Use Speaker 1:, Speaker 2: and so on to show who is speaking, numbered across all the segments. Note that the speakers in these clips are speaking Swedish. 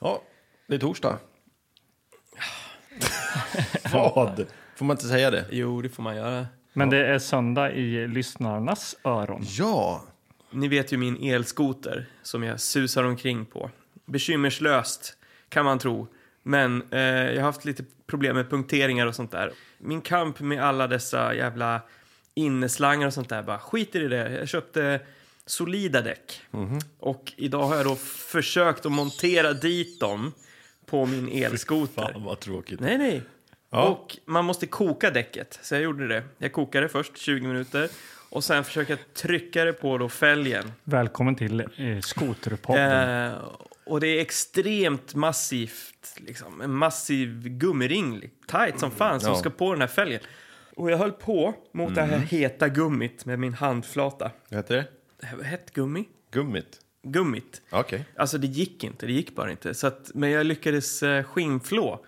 Speaker 1: Ja, det är torsdag. Vad? Får man inte säga det?
Speaker 2: Jo, det får man göra.
Speaker 3: Men det är söndag i lyssnarnas öron.
Speaker 1: Ja,
Speaker 2: Ni vet ju min elskoter som jag susar omkring på. Bekymmerslöst, kan man tro. Men eh, jag har haft lite problem med punkteringar och sånt där. Min kamp med alla dessa jävla inneslangar och sånt där, bara skiter i det. Jag köpte solida däck. Och idag har jag då försökt att montera dit dem på min elskoter.
Speaker 1: fan vad tråkigt.
Speaker 2: Nej, nej.
Speaker 1: Ja.
Speaker 2: Och man måste koka däcket, så jag gjorde det. Jag kokade först 20 minuter och sen försöka trycka det på då fälgen.
Speaker 3: Välkommen till eh, Skoterpodden.
Speaker 2: Eh, och det är extremt massivt, liksom, en massiv gummiring, tight som fan, som
Speaker 1: ja. Mm.
Speaker 2: ska på den här fälgen. Och jag höll på mot det här heta gummit med min handflata.
Speaker 1: Vad heter det?
Speaker 2: Det här var hett gummi?
Speaker 1: Gummit?
Speaker 2: Gummit.
Speaker 1: Okej.
Speaker 2: Alltså det gick inte, det gick bara inte. Så att, men jag lyckades eh, skinnflå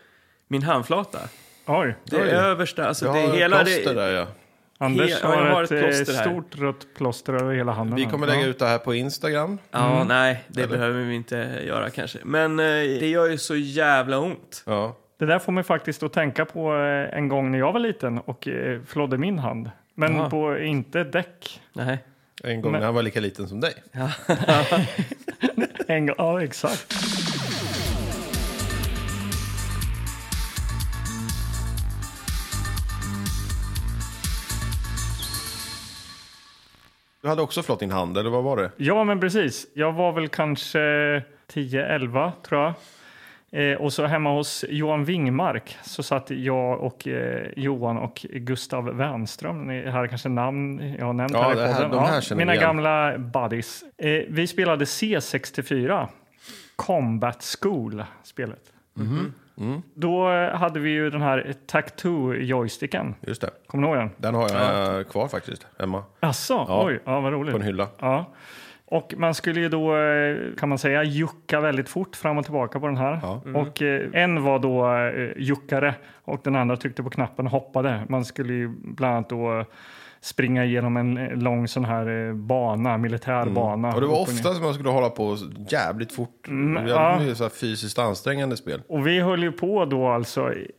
Speaker 2: min handflata.
Speaker 3: Oj,
Speaker 2: Det
Speaker 1: Oj.
Speaker 2: översta, alltså det
Speaker 1: Jag har
Speaker 2: hela...
Speaker 1: plåster
Speaker 2: det,
Speaker 1: där ja.
Speaker 3: Anders
Speaker 2: ja, jag
Speaker 3: har,
Speaker 2: har
Speaker 3: ett,
Speaker 2: ett
Speaker 3: eh,
Speaker 2: plåster här.
Speaker 3: stort rött plåster över hela handen.
Speaker 1: Vi
Speaker 3: här.
Speaker 1: kommer
Speaker 3: Ja.
Speaker 1: lägga ut det här på Instagram.
Speaker 2: Ja,
Speaker 3: Mm.
Speaker 2: nej, det behöver vi inte göra kanske. Men eh, det gör ju så jävla ont.
Speaker 1: Ja.
Speaker 3: Det där får mig faktiskt att tänka på eh, en gång när jag var liten och eh, flådde min hand. Men
Speaker 2: Jaha.
Speaker 3: på, inte däck.
Speaker 2: Nej.
Speaker 1: En gång
Speaker 3: Men-
Speaker 1: när han var lika liten som dig.
Speaker 3: En, gång- ja, exakt.
Speaker 1: Du hade också flått din hand, eller vad var det?
Speaker 3: Ja, men precis. Jag var väl kanske 10-11 tror jag. Eh, och så hemma hos Johan Wingmark så satt jag och eh, Johan och Gustav Wernström. Ni- Här är kanske namn jag har nämnt
Speaker 1: Ja,
Speaker 3: här i
Speaker 1: det här-
Speaker 3: podden.
Speaker 1: de här känner vi
Speaker 3: mina
Speaker 1: igen.
Speaker 3: gamla buddies. Eh, vi spelade C64, Combat School-spelet.
Speaker 1: Mhm. Mm.
Speaker 3: Då eh, hade vi ju den här Tac-Two-joysticken.
Speaker 1: Just det.
Speaker 3: Kommer ni ihåg den?
Speaker 1: Den har jag eh, kvar faktiskt, hemma.
Speaker 3: Asså,
Speaker 1: Ja.
Speaker 3: oj, ja, vad roligt.
Speaker 1: På en hylla.
Speaker 3: Ja. Och man skulle ju då, eh, kan man säga, jucka väldigt fort fram och tillbaka på den här.
Speaker 1: Ja. Mm.
Speaker 3: Och eh, en var då eh, juckare och den andra tryckte på knappen och hoppade. Man skulle ju bland annat då springa igenom en eh, lång sån här eh, bana, militär bana.
Speaker 1: Mm. Och det var
Speaker 3: Upp och ner.
Speaker 1: ofta som man skulle hålla på jävligt fort.
Speaker 3: Mm,
Speaker 1: Jävligt
Speaker 3: ja.
Speaker 1: mycket så här fysiskt ansträngande spel.
Speaker 3: Och vi höll ju på då alltså, i-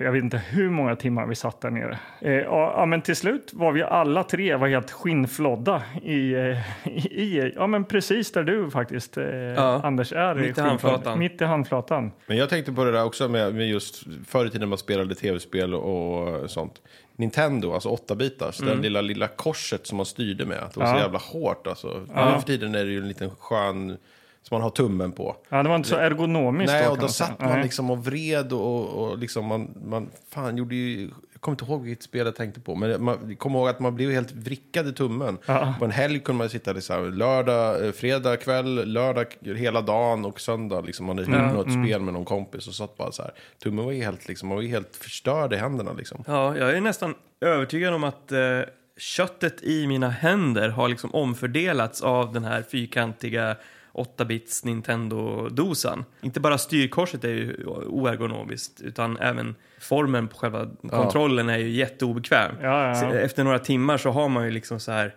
Speaker 3: jag vet inte hur många timmar vi satt där nere. Eh, ja, ja, men till slut var vi alla tre var helt skinnflodda i, eh, i, i ja men precis där du faktiskt eh,
Speaker 2: Ja.
Speaker 3: Anders är.
Speaker 2: Mitt i
Speaker 3: skinnflodda.
Speaker 2: handflatan.
Speaker 3: Mitt i handflatan.
Speaker 1: Men jag tänkte på det där också med, med just förr i tiden man spelade tv-spel och sånt. Nintendo, alltså 8-bitars, det lilla, lilla korset som man styrde med. Att det var så
Speaker 3: Ja.
Speaker 1: jävla hårt alltså. Nu för tiden är det ju en liten skön som man har tummen på.
Speaker 3: Ja, det var inte så ergonomiskt
Speaker 1: Nej,
Speaker 3: då,
Speaker 1: och
Speaker 3: kan
Speaker 1: då
Speaker 3: man säga.
Speaker 1: satt man
Speaker 3: Nej.
Speaker 1: liksom och vred och, och liksom man, man, fan gjorde ju, jag kommer inte ihåg vilket spel jag tänkte på, men man jag kommer ihåg att man blev helt vrickad i tummen.
Speaker 3: Ja.
Speaker 1: På en helg kunde man sitta där så här, lördag, eh, fredag kväll, lördag k- hela dagen och söndag liksom, man hade mm. något spel med någon kompis och satt bara så här, tummen var ju helt liksom, man var ju helt förstörd i händerna liksom.
Speaker 2: Ja, jag är nästan övertygad om att eh, köttet i mina händer har liksom omfördelats av den här fyrkantiga 8-bits Nintendo-dosan. Inte bara styrkorset är ju oergonomiskt utan även formen på själva kontrollen är ju jätteobekväm.
Speaker 3: Ja, ja,
Speaker 2: Så
Speaker 3: ja.
Speaker 2: Efter några timmar så har man ju liksom så här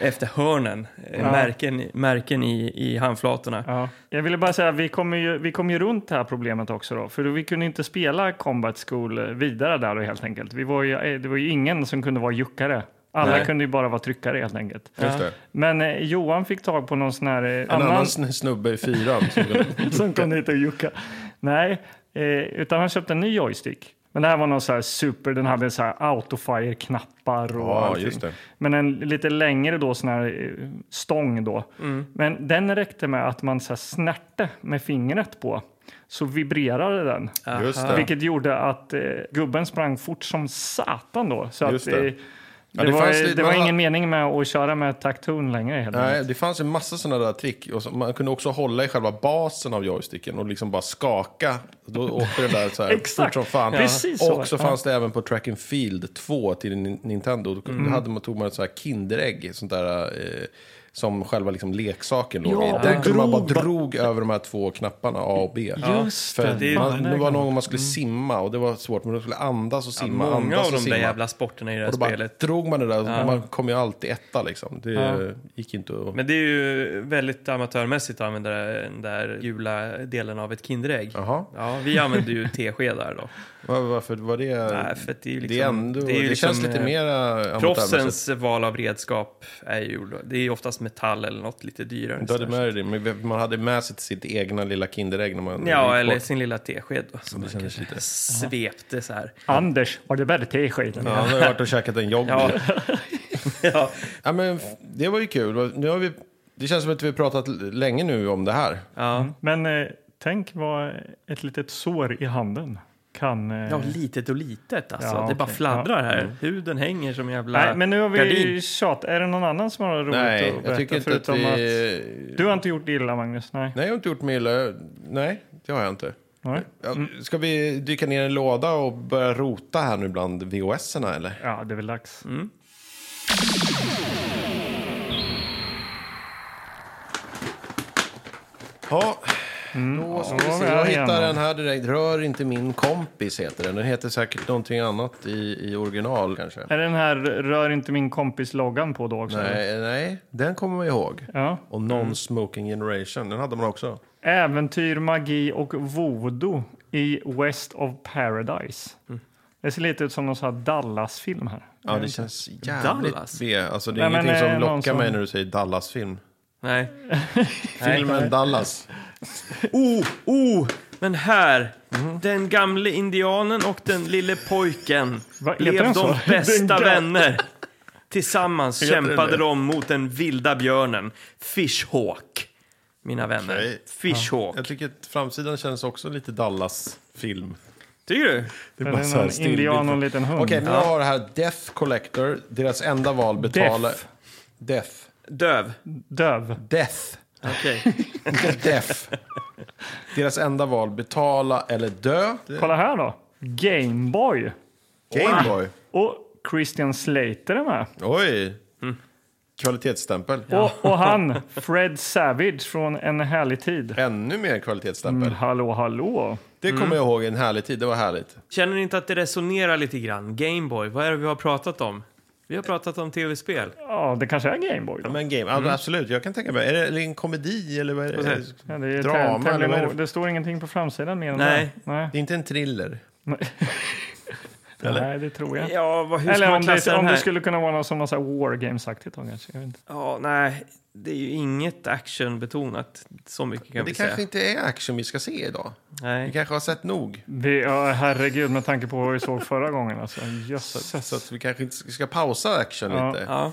Speaker 2: efter hörnen, eh, märken, märken i, i handflatorna.
Speaker 3: Ja. Jag ville bara säga, vi kom, ju, vi kom ju runt det här problemet också då, för vi kunde inte spela Combat School eh, vidare där då helt enkelt. Vi var ju, eh, det var ju ingen som kunde vara juckare. Alla
Speaker 2: Nej.
Speaker 3: kunde ju bara vara tryckare helt enkelt.
Speaker 1: Just det.
Speaker 3: Men eh, Johan fick tag på någon sån här eh,
Speaker 1: En
Speaker 3: annan
Speaker 1: annan sn- snubbe i fyran. som-
Speaker 3: som kom hit och jucka. Nej, eh, utan han köpte en ny joystick. Men det här var någon så här super, den hade så här autofire-knappar och
Speaker 1: Ja,
Speaker 3: allting.
Speaker 1: just det.
Speaker 3: Men en lite längre då sån här eh, stång då.
Speaker 1: Mm.
Speaker 3: Men den räckte med att man så här snärte med fingret på så vibrerade den.
Speaker 1: Just det.
Speaker 3: Vilket gjorde att eh, gubben sprang fort som satan då. Så
Speaker 1: Just
Speaker 3: att, eh,
Speaker 1: det.
Speaker 3: det.
Speaker 1: Ja, det
Speaker 3: det,
Speaker 1: fanns
Speaker 3: var,
Speaker 1: lite-
Speaker 3: det var
Speaker 1: man-
Speaker 3: ingen mening med att köra med takton längre. Helt enkelt.
Speaker 1: Nej, det fanns en massa sådana där trick. Och så, man kunde också hålla i själva basen av joysticken och liksom bara skaka. Då åkte den där så här
Speaker 3: Exakt.
Speaker 1: fort som fan.
Speaker 3: Ja. Precis så.
Speaker 1: och så
Speaker 3: Ja.
Speaker 1: fanns det även på Track and Field 2 till Nin- Nintendo. Då kunde- hade man, tog man ett så här Kinderägg, sånt där eh, som själva liksom leksaken låg
Speaker 3: Ja,
Speaker 1: i. Den
Speaker 3: och
Speaker 1: kunde man bara
Speaker 3: drog-
Speaker 1: drog över de här två knapparna, A och B.
Speaker 3: Just
Speaker 1: För
Speaker 2: är-
Speaker 3: det.
Speaker 1: man,
Speaker 3: fan,
Speaker 1: det var någon
Speaker 3: glömt.
Speaker 1: gång man skulle simma och det var svårt, men de skulle andas och simma,
Speaker 2: Många
Speaker 1: andas
Speaker 2: av
Speaker 1: och
Speaker 2: de
Speaker 1: simma.
Speaker 2: där jävla sporterna i det här
Speaker 1: och då bara
Speaker 2: spelet.
Speaker 1: drog man det där, och man kom ju alltid etta liksom. Det gick inte att...
Speaker 2: Men det är ju väldigt amatörmässigt att använda den där gula delen av ett Kinderägg.
Speaker 1: Jaha,
Speaker 2: Ja, vi använder ju teskedar då.
Speaker 1: Var, varför var det...
Speaker 2: Nej, för att det är ju liksom,
Speaker 1: det, är ändå, det,
Speaker 2: ju
Speaker 1: känns lite
Speaker 2: eh,
Speaker 1: mer...
Speaker 2: Proffsens val av redskap är ju, det är ju oftast metall eller något lite dyrare.
Speaker 1: Du hade med dig, men man hade med sig sitt egna lilla Kinderägg när man gick
Speaker 2: Ja,
Speaker 1: bort.
Speaker 2: eller sin lilla tesked då, som man
Speaker 1: kändes
Speaker 2: kanske svepte så här.
Speaker 3: Anders, har du bäddat teskeden?
Speaker 1: Ja, han har ju varit och käkat en jogg.
Speaker 2: Ja,
Speaker 1: Ja.
Speaker 2: ja.
Speaker 1: men f- det var ju kul. Nu har vi, det känns som att vi har pratat l- länge nu om det här.
Speaker 2: ja.
Speaker 3: Men eh, tänk vad ett litet sår i handen kan... Eh,
Speaker 2: ja litet och litet alltså.
Speaker 3: Ja,
Speaker 2: det bara
Speaker 3: okej.
Speaker 2: fladdrar här. Huden hänger som en jävla
Speaker 3: nej, men nu har vi
Speaker 2: gardin.
Speaker 3: tjat. Är det någon annan som har roligt
Speaker 1: Nej,
Speaker 3: att berätta?
Speaker 1: jag tycker inte att
Speaker 3: förutom
Speaker 1: vi...
Speaker 3: att... Du har inte gjort det illa, Magnus? Nej.
Speaker 1: Nej, jag har inte gjort mig illa. Jag- Nej, det har jag inte.
Speaker 3: nej.
Speaker 1: Ja,
Speaker 2: Mm.
Speaker 1: Ska vi dyka ner i en låda och börja rota här nu bland VHS-erna eller?
Speaker 3: Ja, det är väl dags.
Speaker 1: Mm. Ja, då ska vi
Speaker 3: var
Speaker 1: se.
Speaker 3: Mm. vi här
Speaker 1: Jag hittar
Speaker 3: igen.
Speaker 1: den här direkt. Rör inte min kompis heter den. Den heter säkert någonting annat i, i original kanske.
Speaker 3: Är den här Rör inte min kompis-loggan på då också? eller?
Speaker 1: Nej, nej, den kommer man ihåg.
Speaker 3: Ja.
Speaker 1: Och Non-Smoking Generation, den hade man också.
Speaker 3: Äventyr, magi och voodoo i West of Paradise. Det ser lite ut som någon sån här Dallas-film här.
Speaker 1: Ja, Mm. det känns jävligt
Speaker 2: Dallas?
Speaker 1: B. Alltså, det
Speaker 3: Mm. Nej,
Speaker 1: är
Speaker 3: men,
Speaker 1: ingenting
Speaker 3: eh,
Speaker 1: som
Speaker 3: någon
Speaker 1: lockar
Speaker 3: som-
Speaker 1: mig när du säger Dallas-film.
Speaker 2: Nej.
Speaker 1: Filmen Dallas.
Speaker 2: Oh, oh! Men här, den gamle indianen och den lille pojken
Speaker 3: Va, heter
Speaker 2: blev
Speaker 3: den så?
Speaker 2: de
Speaker 3: Den
Speaker 2: bästa
Speaker 3: gamle-
Speaker 2: vänner. Tillsammans
Speaker 1: Heter den
Speaker 2: kämpade
Speaker 1: det?
Speaker 2: de mot den vilda björnen Fishhawk. Mina vänner.
Speaker 1: Okej.
Speaker 2: Fishhawk.
Speaker 1: Jag tycker att framsidan känns också lite Dallas-film.
Speaker 2: Tycker du?
Speaker 1: Det
Speaker 3: Är det någon indian och en liten hund?
Speaker 1: Okej, nu har det här Death Collector. Deras enda val betalar...
Speaker 3: Death.
Speaker 1: Death.
Speaker 2: Döv.
Speaker 3: Döv.
Speaker 1: Death.
Speaker 2: Okej.
Speaker 1: Death. Deras enda val betala eller dö.
Speaker 3: Kolla här då. Gameboy.
Speaker 1: Gameboy.
Speaker 3: Och Christian Slater är med.
Speaker 1: Oj. Kvalitetsstämpel.
Speaker 3: Och, och han, Fred Savage från En härlig tid.
Speaker 1: Ännu mer kvalitetsstämpel.
Speaker 3: Mm, hallå, hallå.
Speaker 1: Det kommer
Speaker 2: Mm.
Speaker 1: jag ihåg, en härlig tid. Det var härligt.
Speaker 2: Känner ni inte att det resonerar lite grann? Gameboy, vad är det vi har pratat om? Vi har pratat om tv-spel.
Speaker 3: Ja, det kanske är Gameboy.
Speaker 1: Ja,
Speaker 3: Då.
Speaker 1: men game, ja, absolut. Jag kan tänka mig. Är det, är det en komedi eller vad är det?
Speaker 2: Mm. Precis.
Speaker 3: Ja, det, är
Speaker 1: Drama,
Speaker 3: drama,
Speaker 1: eller vad är
Speaker 3: det,
Speaker 1: det?
Speaker 3: det står ingenting på framsidan mer än
Speaker 2: Nej.
Speaker 3: det. Nej.
Speaker 1: Det är inte en thriller. Eller?
Speaker 3: Nej, det tror jag.
Speaker 2: Ja, vad, hur ska
Speaker 3: Eller
Speaker 2: man
Speaker 3: om det,
Speaker 2: klassa den
Speaker 3: om
Speaker 2: här?
Speaker 3: det skulle kunna vara något som massa war games-aktigt. då kanske. Jag vet inte.
Speaker 2: Ja, nej, det är ju inget actionbetonat. Så mycket kan
Speaker 1: Det
Speaker 2: vi
Speaker 1: kanske
Speaker 2: säga.
Speaker 1: inte är action vi ska se idag. Vi
Speaker 2: Nej.
Speaker 1: kanske har sett nog.
Speaker 3: Vi, ja, herregud, med tanke på vad vi såg förra gången. Alltså. Jösses.
Speaker 1: Så att vi kanske inte ska ska pausa action
Speaker 3: Ja.
Speaker 1: lite.
Speaker 2: Ja.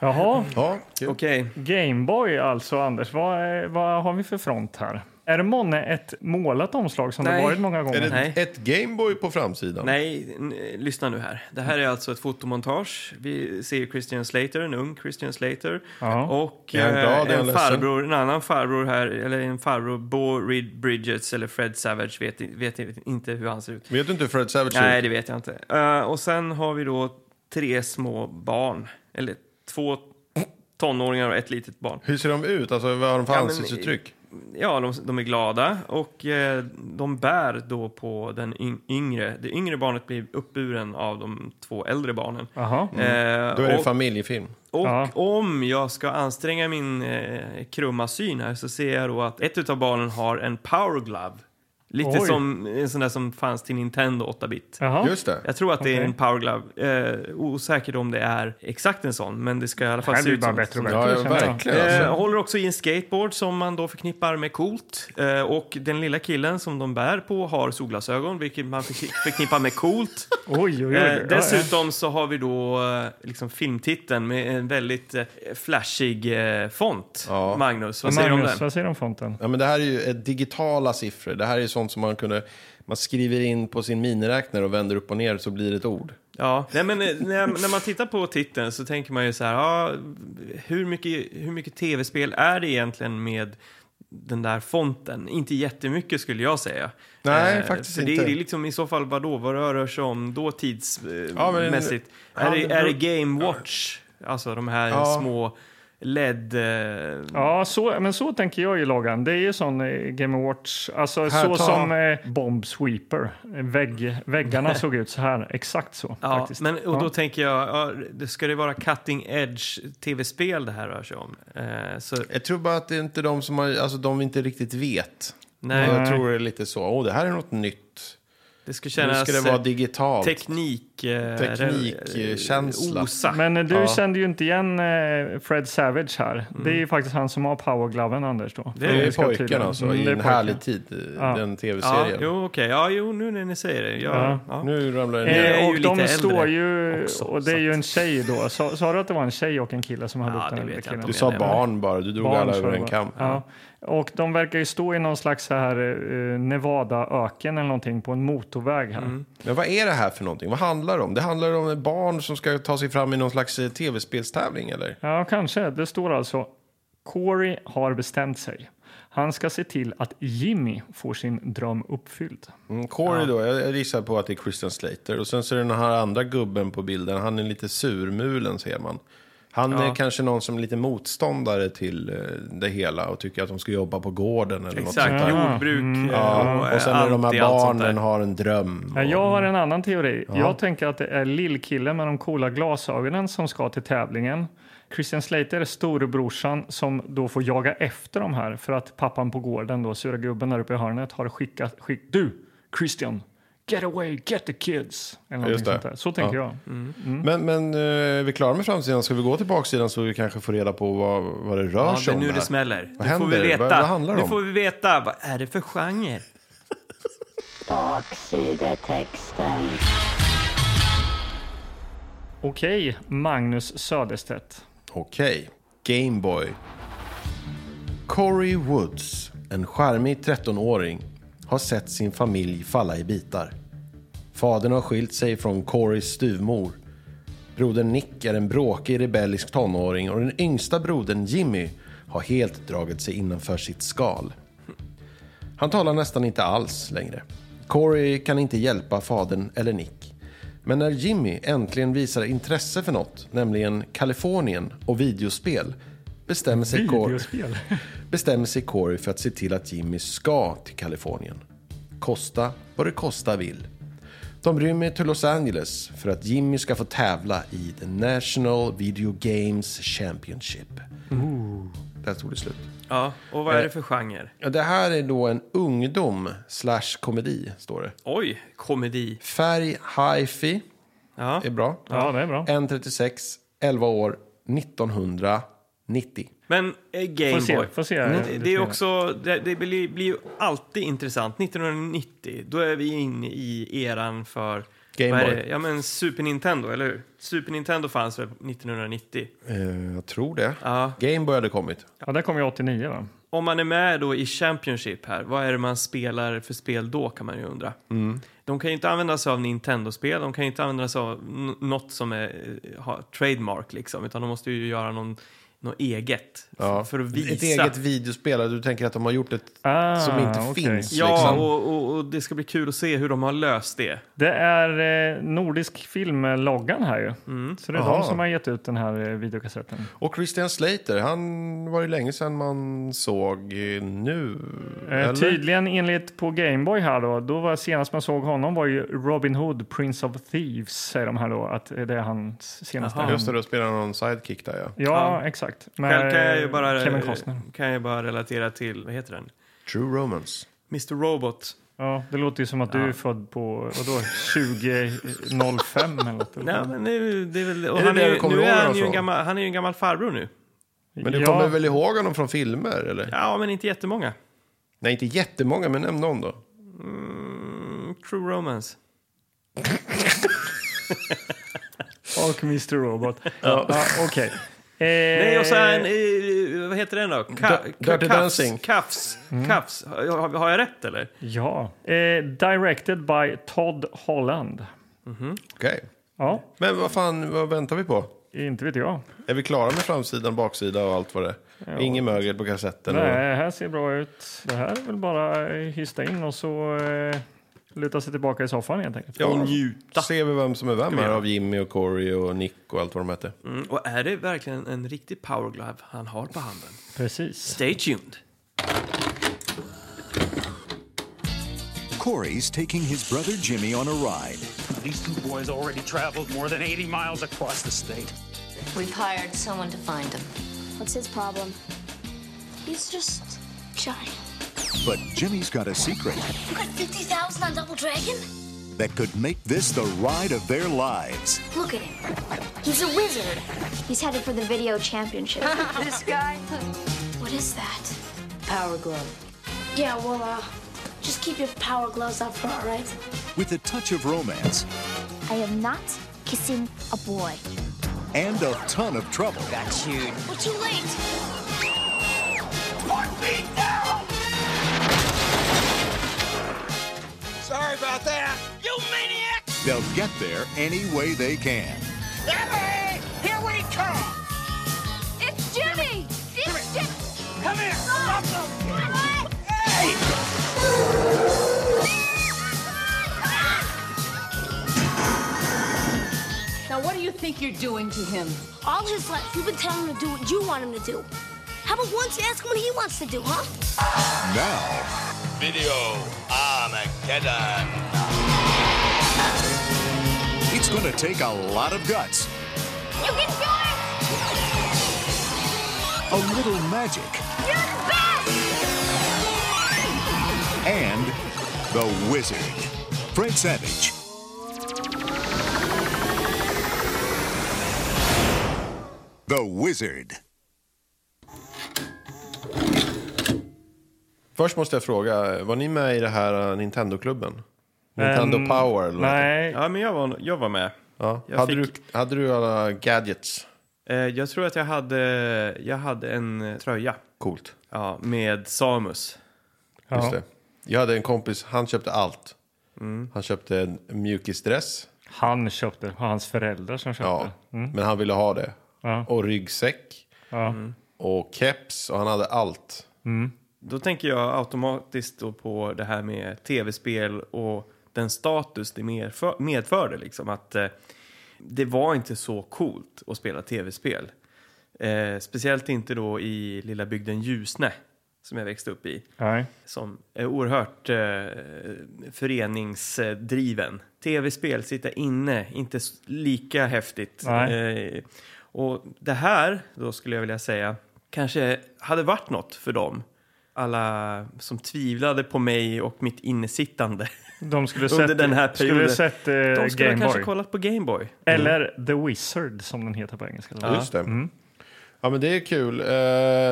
Speaker 3: Jaha,
Speaker 1: Ja, kul.
Speaker 2: Okej.
Speaker 3: Gameboy alltså, Anders. Vad, är, vad har vi för front här? Är det månne ett målat omslag som
Speaker 2: Nej.
Speaker 3: det varit många gånger?
Speaker 1: Är det
Speaker 2: Nej.
Speaker 1: ett Gameboy på framsidan?
Speaker 2: Nej, n- lyssna nu här. Det här är alltså ett fotomontage. Vi ser Christian Slater, en ung Christian Slater.
Speaker 3: Ja.
Speaker 2: Och
Speaker 1: Är han
Speaker 2: eh,
Speaker 1: glad? Är han
Speaker 2: en,
Speaker 1: ledsen?
Speaker 2: farbror, en annan farbror här, eller en farbror, Bo Reed Bridges eller Fred Savage, vet, i- vet i- inte hur han ser ut.
Speaker 1: Vet du inte hur Fred Savage ser
Speaker 2: Nej,
Speaker 1: ut?
Speaker 2: det vet jag inte. Eh, och sen har vi då tre små barn, eller två tonåringar och ett litet barn.
Speaker 1: Hur ser de ut? Alltså, vad har de för
Speaker 2: Ja, men-
Speaker 1: ansiktsuttryck?
Speaker 2: Ja, de, de är glada och eh, de bär då på den yng- yngre. Det yngre barnet blir uppburen av de två äldre barnen.
Speaker 3: Jaha.
Speaker 2: Eh,
Speaker 1: Mm. Då är det en
Speaker 2: och
Speaker 1: familjefilm.
Speaker 2: och
Speaker 3: Ja.
Speaker 2: om jag ska anstränga min eh, krumma syn här så ser jag då att ett av barnen har en power glove. Lite
Speaker 3: Oj.
Speaker 2: som en sån där som fanns till Nintendo 8-bit.
Speaker 3: Jaha.
Speaker 1: Just det.
Speaker 2: Jag tror att det är
Speaker 3: Okej.
Speaker 2: en power glove. Eh, osäker om det är exakt en sån, men det ska i alla fall
Speaker 3: Det här
Speaker 2: se
Speaker 3: blir
Speaker 2: ut
Speaker 3: bara
Speaker 2: som,
Speaker 3: bättre och
Speaker 2: som
Speaker 3: bättre.
Speaker 1: Ja, ja,
Speaker 3: känner jag.
Speaker 1: verkligen.
Speaker 2: Eh,
Speaker 1: Alltså.
Speaker 2: håller också i en skateboard som man då förknippar med coolt. Eh, och den lilla killen som de bär på har solglasögon, vilket man förk- förknippar med coolt.
Speaker 3: Oj, oj, oj.
Speaker 2: Eh,
Speaker 3: Ja,
Speaker 2: dessutom så har vi då eh, liksom filmtiteln med en väldigt eh, flashig eh, font.
Speaker 1: Ja.
Speaker 2: Magnus,
Speaker 3: ja.
Speaker 2: vad säger du om
Speaker 3: Magnus,
Speaker 2: den?
Speaker 3: vad säger du om fonten?
Speaker 1: Ja, men det här är ju eh, digitala siffror. Det här är sånt som man kunde... Man skriver in på sin miniräknare och vänder upp och ner så blir det ett ord.
Speaker 2: Ja. Nej, men, eh, när, när man tittar på titeln så tänker man ju så här, ja, hur mycket, hur mycket tv-spel är det egentligen med den där fonten. Inte jättemycket skulle jag säga.
Speaker 1: Nej,
Speaker 2: Eh,
Speaker 1: faktiskt
Speaker 2: för det,
Speaker 1: inte.
Speaker 2: Det är liksom i så fall vadå, vad det rör sig om då tidsmässigt?
Speaker 1: Ja, men-
Speaker 2: är, det,
Speaker 1: han-
Speaker 2: är det Game Watch? Alltså de här
Speaker 1: Ja.
Speaker 2: små LED... Eh,
Speaker 3: Ja, så, men så tänker jag ju Logan. Det är ju sån eh, Game Watch, alltså
Speaker 1: ta.
Speaker 3: så som eh, Bomb Sweeper. eh, Vägg, väggarna såg ut så här, exakt så
Speaker 2: Ja,
Speaker 3: faktiskt.
Speaker 2: men, och
Speaker 3: Ja.
Speaker 2: då tänker jag, ja, det- ska det vara cutting edge tv-spel det här rör sig om? Eh, så,
Speaker 1: Jag tror bara att det är inte de som har, alltså de vi inte riktigt vet.
Speaker 2: nej,
Speaker 1: Jag tror det är lite så, åh det här är något nytt.
Speaker 2: det ska
Speaker 1: Nu
Speaker 2: kännas
Speaker 1: ska det vara
Speaker 2: eh,
Speaker 1: digitalt.
Speaker 2: teknik... Eh,
Speaker 1: Teknikkänsla.
Speaker 2: eh, Osagt.
Speaker 3: Men eh, du
Speaker 1: Ja.
Speaker 3: kände ju inte igen eh, Fred Savage här. Det är ju faktiskt han som har powergloven, Anders. Då.
Speaker 1: det är
Speaker 3: Vi ska
Speaker 1: pojkarna
Speaker 3: tydligen-
Speaker 1: alltså,
Speaker 3: Mm,
Speaker 1: i
Speaker 3: det är
Speaker 1: en
Speaker 3: pojkarna.
Speaker 1: härlig tid, eh,
Speaker 3: Ja.
Speaker 1: den
Speaker 2: Ja,
Speaker 1: tv-serien.
Speaker 2: jo, okej. Ja, jo, nu när ni säger det. Ja,
Speaker 3: Ja.
Speaker 2: ja.
Speaker 1: Nu ramlar det
Speaker 2: Jag är
Speaker 1: ner.
Speaker 2: ju
Speaker 3: Eh, och
Speaker 2: lite
Speaker 3: de
Speaker 2: äldre
Speaker 3: står ju,
Speaker 2: också,
Speaker 3: och det är ju
Speaker 2: så att-
Speaker 3: en tjej då. Sa, sa du att det var en tjej och en kille som hade
Speaker 2: Ja,
Speaker 3: upp
Speaker 2: det
Speaker 3: den?
Speaker 2: vet jag
Speaker 3: killen?
Speaker 2: inte om
Speaker 1: Du
Speaker 2: jag
Speaker 1: sa
Speaker 2: menar.
Speaker 1: barn bara, du drog
Speaker 3: Barn,
Speaker 1: alla
Speaker 3: sa
Speaker 1: över
Speaker 3: det
Speaker 1: en
Speaker 3: bara.
Speaker 1: kam.
Speaker 3: Ja. Och de verkar ju stå i någon slags så här eh, Nevada-öken eller någonting på en motorväg här.
Speaker 2: Mm.
Speaker 1: Men vad är det här för någonting? Vad handlar det om? Det handlar om barn som ska ta sig fram i någon slags eh, tv-spelstävling eller?
Speaker 3: Ja, kanske. Det står alltså Corey har bestämt sig. Han ska se till att Jimmy får sin dröm uppfylld.
Speaker 1: Mm, Corey då, jag jag gissar på att det är Christian Slater. Och sen så är det den här andra gubben på bilden, han är lite surmulen ser man. Han är kanske någon som är lite motståndare till eh, det hela och tycker att de ska jobba på gården eller något sånt
Speaker 2: Exakt,
Speaker 1: där.
Speaker 2: jordbruk eh,
Speaker 1: Ja, och sen när de
Speaker 2: anti
Speaker 1: här
Speaker 2: allt sånt där.
Speaker 1: barnen har en dröm.
Speaker 3: Ja, jag har en annan teori. Jag tänker att det är lillkillen med de coola glasögonen som ska till tävlingen. Christian Slater är storebrorsan som då får jaga efter de här för att pappan på gården, då, sura gubben där uppe i hörnet, har skickat... Skick, du, Christian! Get away, get the kids! Eller någonting
Speaker 1: Just det.
Speaker 3: sånt där. Så tänker jag.
Speaker 2: Mm.
Speaker 1: Men, men eh, är vi klara med framsidan? Ska vi gå till baksidan så vi kanske får reda på vad, vad det rör
Speaker 2: Ja, det
Speaker 1: sig
Speaker 2: är
Speaker 1: om?
Speaker 2: nu
Speaker 1: där?
Speaker 2: det smäller.
Speaker 1: Vad
Speaker 2: nu får vi
Speaker 1: händer?
Speaker 2: veta.
Speaker 1: Vad- vad handlar det
Speaker 2: nu
Speaker 1: om?
Speaker 2: får vi veta. Vad är det för genre?
Speaker 4: Baksidetexten.
Speaker 3: Okej, Magnus Söderstedt.
Speaker 1: Okej, Gameboy. Corey Woods, en charmig 13-åring, har sett sin familj falla i bitar. Fadern har skilt sig från Corys styvmor. Brodern Nick är en bråkig rebellisk tonåring och den yngsta brodern Jimmy har helt dragit sig innanför sitt skal. Han talar nästan inte alls längre. Corey kan inte hjälpa fadern eller Nick. Men när Jimmy äntligen visar intresse för något, nämligen Kalifornien och videospel, bestämmer sig, Cor-
Speaker 3: Videospel.
Speaker 1: bestämmer sig Corey för att se till att Jimmy ska till Kalifornien. Kosta vad det kosta vill. De rymmer till Los Angeles för att Jimmy ska få tävla i The National Video Games Championship. Där tog det slut.
Speaker 2: Ja, och
Speaker 1: Eh,
Speaker 2: vad är det för genre?
Speaker 1: Ja, Det här är då en ungdom slash komedi, står det.
Speaker 2: Oj, komedi.
Speaker 1: Färg hifi
Speaker 2: Ja,
Speaker 1: är bra.
Speaker 3: Ja, det är bra.
Speaker 1: 1.36, 11 år, 1990.
Speaker 2: men eh,
Speaker 3: Får se,
Speaker 2: Gameboy.
Speaker 3: får se.
Speaker 2: Mm. Det, det är också, det, det blir, blir ju alltid intressant. 1990, då är vi inne i eran för...
Speaker 1: Game
Speaker 2: vad är
Speaker 1: Boy.
Speaker 2: det? Ja, men Super Nintendo, eller hur? Super Nintendo fanns väl 1990?
Speaker 1: Eh, jag tror det.
Speaker 2: Ja.
Speaker 1: Gameboy hade kommit.
Speaker 3: Ja, där kom jag 89 va?
Speaker 2: Om man är med då i Championship här, vad är det man spelar för spel då kan man ju undra.
Speaker 1: Mm.
Speaker 2: De kan ju inte använda sig av Nintendo-spel, de kan ju inte använda sig av n- något som är, eh, har trademark liksom, utan de måste ju göra någon, något eget.
Speaker 1: Ja.
Speaker 2: För att visa.
Speaker 1: Ett eget videospel. Du tänker att de har gjort ett
Speaker 3: Ah,
Speaker 1: som inte
Speaker 3: okej.
Speaker 1: finns.
Speaker 2: Ja,
Speaker 1: liksom.
Speaker 2: och, och, och det ska bli kul att se hur de har löst det.
Speaker 3: Det är eh, Nordisk Film-loggan här ju. Så det är
Speaker 1: Aha.
Speaker 3: de som har gett ut den här eh, videokassetten.
Speaker 1: och Christian Slater, han var ju länge sedan man såg eh, nu.
Speaker 3: Eh, tydligen enligt på Gameboy här då, då var senast man såg honom var ju Robin Hood, Prince of Thieves säger de här då, att eh, det är hans senaste.
Speaker 2: Jaha.
Speaker 1: Just det, då spelar han någon sidekick där ja.
Speaker 3: Ja,
Speaker 2: Ja.
Speaker 3: exakt. eh,
Speaker 2: Själv kan jag ju bara, eh,
Speaker 3: Kevin Costner.
Speaker 2: kan jag bara relatera till, vad heter den?
Speaker 1: True Romance.
Speaker 2: Mr Robot.
Speaker 3: Ja, det låter ju som att du är född på, vadå, 2005 eller något.
Speaker 2: Nej, men det är, ju- det är väl... Och
Speaker 1: Är det
Speaker 2: han
Speaker 1: det
Speaker 2: är,
Speaker 1: du
Speaker 2: ju-
Speaker 1: kommer
Speaker 2: nu
Speaker 1: ihåg
Speaker 2: är
Speaker 1: honom
Speaker 2: han, ju en
Speaker 1: från?
Speaker 2: gammal, han är ju en gammal farbror nu.
Speaker 1: Men du
Speaker 3: ja,
Speaker 1: kommer väl ihåg honom från filmer? Eller?
Speaker 2: Ja, men inte jättemånga.
Speaker 1: Nej, inte jättemånga, men nämn någon då.
Speaker 2: Mm, True Romance.
Speaker 3: Och Mr Robot. ja. Okej. Eh,
Speaker 2: Nej, och sen, eh, vad heter den då? Ka-
Speaker 1: Dirty
Speaker 2: ka- kafs,
Speaker 1: Dancing. Mm.
Speaker 2: Kafs. Kafs. Har, har jag rätt eller?
Speaker 3: Ja. Eh, directed by Todd Holland.
Speaker 1: Okej.
Speaker 3: Ja,
Speaker 1: Men vad fan, vad väntar vi på?
Speaker 3: inte vet jag.
Speaker 1: Är vi klara med framsidan, baksida och allt vad det är?
Speaker 3: Ja.
Speaker 1: Ingen mögel på kassetten.
Speaker 3: Nej,
Speaker 1: Och
Speaker 3: det här ser bra ut. Det här är väl bara eh, hysta in och så eh, luta sig tillbaka i soffan helt enkelt.
Speaker 1: Ja.
Speaker 2: Och njuta.
Speaker 1: ser vi vem som är vem
Speaker 2: vi
Speaker 1: här
Speaker 2: göra?
Speaker 1: av Jimmy och Corey och Nick och allt vad de hette.
Speaker 2: Mm. Och är det verkligen en riktig power glove han har på handen?
Speaker 3: Precis.
Speaker 2: Stay tuned.
Speaker 5: Corey's taking his brother Jimmy on a ride.
Speaker 6: These two boys already traveled more than 80 miles across the state.
Speaker 7: We've hired someone to find him.
Speaker 8: What's his problem? He's just shy.
Speaker 5: But Jimmy's got a secret
Speaker 8: You got 50,000 on Double Dragon?
Speaker 5: that could make this the ride of their lives.
Speaker 8: Look at him. He's a wizard. He's headed for the video championship.
Speaker 7: this guy?
Speaker 8: what is that?
Speaker 7: Power glove.
Speaker 8: Yeah, well, uh, just keep your power gloves up front, all right?
Speaker 5: With a touch of romance
Speaker 8: I am not kissing a boy.
Speaker 5: and a ton of trouble,
Speaker 7: That's you.
Speaker 8: We're too late.
Speaker 9: Sorry about that. You maniac!
Speaker 5: they'll get there any way they can.
Speaker 9: Emily, here we come!
Speaker 8: It's Jimmy! It's Jimmy!
Speaker 9: Come here! Stop them!
Speaker 8: What?
Speaker 9: Hey!
Speaker 8: Ah!
Speaker 7: Now, what do you think you're doing to him?
Speaker 8: All his life, you've been telling him to do what you want him to do. How about once you ask him what he wants to do, huh?
Speaker 5: Now,
Speaker 9: Video Armageddon.
Speaker 5: it's going to take a lot of guts,
Speaker 8: You can do it!
Speaker 5: a little magic,
Speaker 8: You're the best!
Speaker 5: and the wizard, Fred Savage. The Wizard.
Speaker 1: Först måste jag fråga, var ni med i det här eh, Nintendo-klubben? Nintendo
Speaker 3: Ehm,
Speaker 1: Power? Eller vad det
Speaker 3: Nej,
Speaker 2: Ja, men jag var, jag var med.
Speaker 1: heter? Ja.
Speaker 2: jag
Speaker 1: Hade,
Speaker 2: fick-
Speaker 1: du, hade du alla gadgets?
Speaker 2: Eh, jag tror att jag hade, jag hade en eh, tröja
Speaker 1: Coolt.
Speaker 2: ja, med Samus.
Speaker 1: Just
Speaker 3: ja.
Speaker 1: det. Jag hade en kompis, han köpte allt.
Speaker 3: Mm.
Speaker 1: Han köpte en mjukisdress.
Speaker 3: han köpte. Det var hans föräldrar som köpte. Mm.
Speaker 1: Ja. Men han ville ha det.
Speaker 3: Ja.
Speaker 1: Och ryggsäck. Och keps. Och han hade allt.
Speaker 2: Då tänker jag automatiskt då på det här med tv-spel och den status det medför, medförde. Liksom, att eh, Det var inte så coolt att spela tv-spel. Eh, speciellt inte då i lilla bygden Ljusne, som jag växte upp i.
Speaker 3: Nej.
Speaker 2: som är oerhört eh, föreningsdriven. Tv-spel, sitta inne, inte s- lika häftigt.
Speaker 3: Nej.
Speaker 2: Eh, och det här, då skulle jag vilja säga, kanske hade varit något för dem. Alla som tvivlade på mig och mitt innesittande.
Speaker 3: De skulle
Speaker 2: Under
Speaker 3: sett,
Speaker 2: den här
Speaker 3: skulle
Speaker 2: perioden.
Speaker 3: sett eh,
Speaker 2: De skulle ha kanske
Speaker 3: Gameboy.
Speaker 2: kollat på Gameboy.
Speaker 3: Eller The Wizard som den heter på engelska.
Speaker 1: Just det.
Speaker 3: Mm.
Speaker 1: Ja men det är kul. Eh,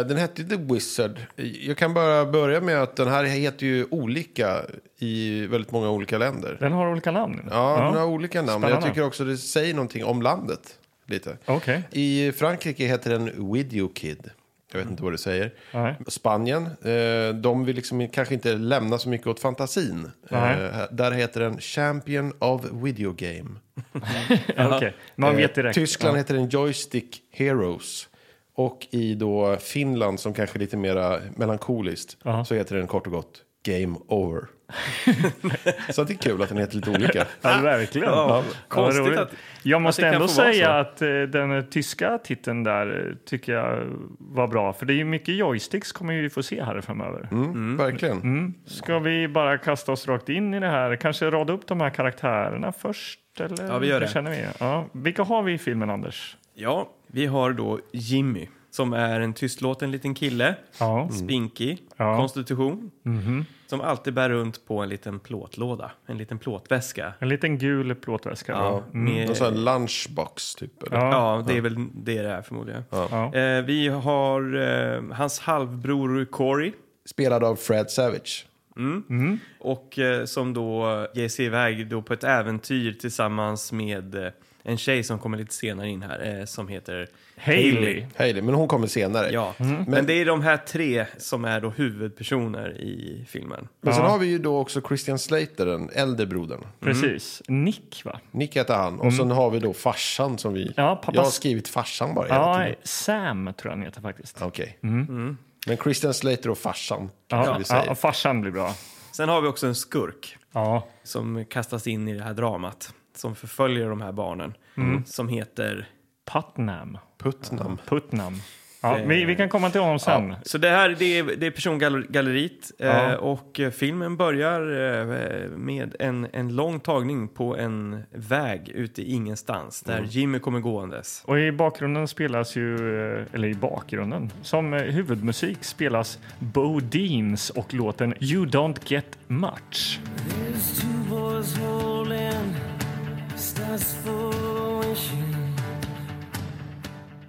Speaker 1: den hette ju The Wizard. Jag kan bara börja med att den här heter ju olika i väldigt många olika länder.
Speaker 3: Den har olika namn.
Speaker 1: Ja, den har olika namn.
Speaker 3: Spännande.
Speaker 1: Jag tycker också det säger någonting om landet. Lite.
Speaker 3: Okej.
Speaker 1: I Frankrike heter den Video Kid. Jag vet inte vad det säger.
Speaker 3: Nej.
Speaker 1: Spanien, eh, de vill liksom kanske inte lämna så mycket åt fantasin.
Speaker 3: Nej.
Speaker 1: Eh, där heter den Champion of Video Game. Eh,
Speaker 3: Ja, okej. Man vet direkt.
Speaker 1: Tyskland heter den Joystick Heroes. Och i då Finland, som kanske är lite mer melankoliskt, så heter den kort och gott Game Over. så det är kul att den heter lite olika.
Speaker 3: Ja, verkligen.
Speaker 2: Ja,
Speaker 3: Ja,
Speaker 2: konstigt
Speaker 3: roligt.
Speaker 2: att-
Speaker 3: jag måste
Speaker 2: att det kan
Speaker 3: ändå
Speaker 2: få vara
Speaker 3: säga
Speaker 2: så.
Speaker 3: att eh, den tyska titeln där eh, tycker jag var bra. För det är ju mycket joysticks kommer vi få se här framöver.
Speaker 2: Mm.
Speaker 1: Verkligen.
Speaker 3: Ska vi bara kasta oss rakt in i det här? Kanske rada upp de här karaktärerna först? Eller?
Speaker 2: Ja, vi gör
Speaker 3: Hur
Speaker 2: det.
Speaker 3: Känner vi? Ja. Vilka har vi i filmen, Anders?
Speaker 2: Ja, vi har då Jimmy, som är en tystlåten liten kille.
Speaker 3: Ja.
Speaker 2: spinkig
Speaker 3: Mm. Ja. Mhm.
Speaker 2: konstitution. Som alltid bär runt på en liten plåtlåda, en liten plåtväska.
Speaker 3: En liten gul plåtväska.
Speaker 2: Ja,
Speaker 3: Mm.
Speaker 1: Någon
Speaker 2: med,
Speaker 1: sån här lunchbox typ. Eller?
Speaker 3: Ja.
Speaker 2: ja det är väl det det är förmodligen.
Speaker 3: Ja.
Speaker 2: Eh, vi har eh, hans halvbror Corey.
Speaker 1: Spelad av Fred Savage.
Speaker 2: Och eh, som då ger sig iväg då på ett äventyr tillsammans med eh, en tjej som kommer lite senare in här eh, som heter
Speaker 3: Hailey.
Speaker 1: Hej, men hon kommer senare.
Speaker 2: Ja,
Speaker 3: Mm.
Speaker 2: men, det är de här tre som är då huvudpersoner i filmen.
Speaker 1: Men sen
Speaker 3: Ja.
Speaker 1: har vi ju då också Christian Slater, den äldre brodern.
Speaker 3: Precis. Nick, va?
Speaker 1: Nick heter han. Och sen har vi då farsan som vi...
Speaker 3: Mm. Ja, pappas-
Speaker 1: Jag har skrivit farsan bara. hela
Speaker 3: Ja,
Speaker 1: tiden.
Speaker 3: Sam tror jag han heter faktiskt.
Speaker 1: Okej. Men Christian Slater och farsan, kanske
Speaker 3: Ja,
Speaker 1: vi
Speaker 3: ja,
Speaker 1: säger.
Speaker 3: farsan blir bra.
Speaker 2: Sen har vi också en skurk
Speaker 3: Ja,
Speaker 2: som kastas in i det här dramat som förföljer de här barnen som heter...
Speaker 3: Putnam.
Speaker 1: Putnam.
Speaker 3: Putnam. Ja, vi, vi kan komma till honom sen.
Speaker 2: Så det här det är, det är persongalleriet eh,
Speaker 3: Ja.
Speaker 2: och eh, filmen börjar eh, med en, en lång tagning på en väg ute i ingenstans där Jimmy kommer gåendes.
Speaker 3: Och i bakgrunden spelas ju, eh, eller i bakgrunden, som eh, huvudmusik spelas Bo Deans och låten You Don't Get Much.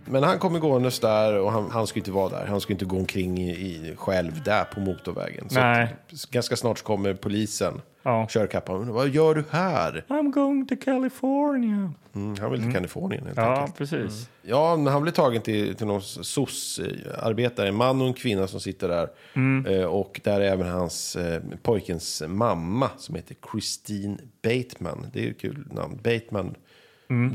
Speaker 1: Men han kommer gåendes där och han, han ska ju inte vara där. Han ska ju inte gå omkring i, i själv där på motorvägen. Så
Speaker 3: Nej.
Speaker 1: att ganska snart kommer polisen.
Speaker 3: Ja.
Speaker 1: Kör kapp honom. Vad gör du här?
Speaker 3: I'm going to California.
Speaker 1: Mm, han vill till Kalifornien helt
Speaker 3: Ja,
Speaker 1: enkelt.
Speaker 3: precis.
Speaker 1: Ja, men han blir tagen till, till någon soc-arbetare. En man och en kvinna som sitter där. Eh, och där är även hans eh, pojkens mamma som heter Christine Bateman. Det är ju ett kul namn. Bateman.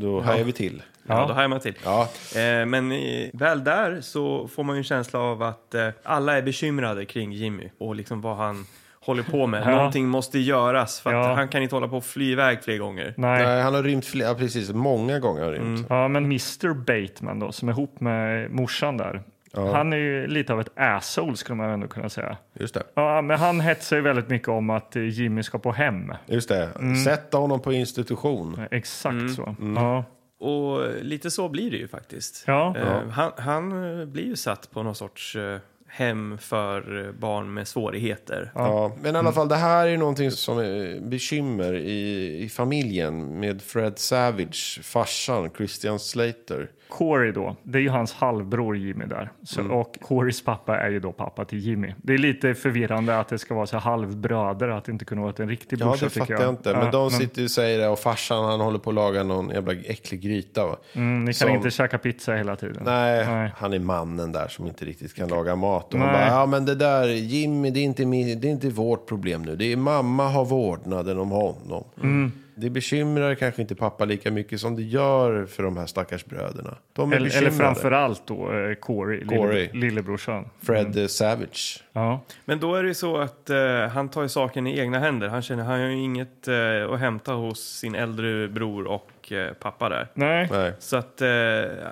Speaker 1: Då hajar vi till.
Speaker 2: Ja, då hajar man till.
Speaker 1: Ja.
Speaker 2: Eh, men eh, väl där så får man ju en känsla av att eh, alla är bekymrade kring Jimmy och liksom vad han håller på med. Någonting måste göras för att
Speaker 3: Ja.
Speaker 2: han kan inte hålla på och fly iväg fler gånger.
Speaker 3: Nej. Mm.
Speaker 1: Nej, han har rymt flera, ja, precis, många gånger har han rymt.
Speaker 3: Ja, men Mr Bateman då, som är ihop med morsan där. Han är ju lite av ett asshole skulle man ändå kunna säga.
Speaker 1: Just det.
Speaker 3: Ja, men han hetsar ju väldigt mycket om att eh, Jimmy ska på hem.
Speaker 1: Just det. Sätta honom på institution.
Speaker 3: Exakt så. Ja.
Speaker 2: Och lite så blir det ju faktiskt.
Speaker 3: Ja.
Speaker 2: Eh, han, han eh, blir ju satt på någon sorts eh, hem för eh, barn med svårigheter.
Speaker 1: Ja, men i alla fall, det här är någonting som är bekymmer i, i familjen med Fred Savage, farsan, Christian Slater.
Speaker 3: Corey då, det är ju hans halvbror Jimmy där. Så,
Speaker 1: Mm.
Speaker 3: Och Corys pappa är ju då pappa till Jimmy. Det är lite förvirrande att det ska vara så här halvbröder, att det inte kunna vara en riktig
Speaker 1: Ja,
Speaker 3: brorsa
Speaker 1: det
Speaker 3: tycker
Speaker 1: fattar
Speaker 3: jag.
Speaker 1: jag inte. Men de sitter ju och säger det och farsan han håller på att laga någon jävla äcklig gryta. Va?
Speaker 3: Mm, ni kan
Speaker 1: som-
Speaker 3: inte käka pizza hela tiden.
Speaker 1: Nej,
Speaker 3: Nej.
Speaker 1: han är mannen där som inte riktigt kan laga mat. Och han
Speaker 3: Nej.
Speaker 1: bara, ja men det där Jimmy, det är, inte min, det är inte vårt problem nu. Det är mamma har vårdnaden om honom.
Speaker 3: Mm.
Speaker 1: Det bekymrar kanske inte pappa lika mycket som det gör för de här stackars bröderna. De är
Speaker 3: Eller, eller
Speaker 1: bekymrade.
Speaker 3: framförallt då eh, Corey,
Speaker 1: Corey.
Speaker 3: Lille, lillebrorsan.
Speaker 1: Fred
Speaker 3: Mm.
Speaker 1: eh, Savage.
Speaker 3: Ja.
Speaker 2: Men då är det ju så att eh, han tar ju saken i egna händer. Han känner han har ju inget eh, att hämta hos sin äldre bror och eh, pappa där.
Speaker 3: Nej.
Speaker 1: Nej.
Speaker 2: Så att eh,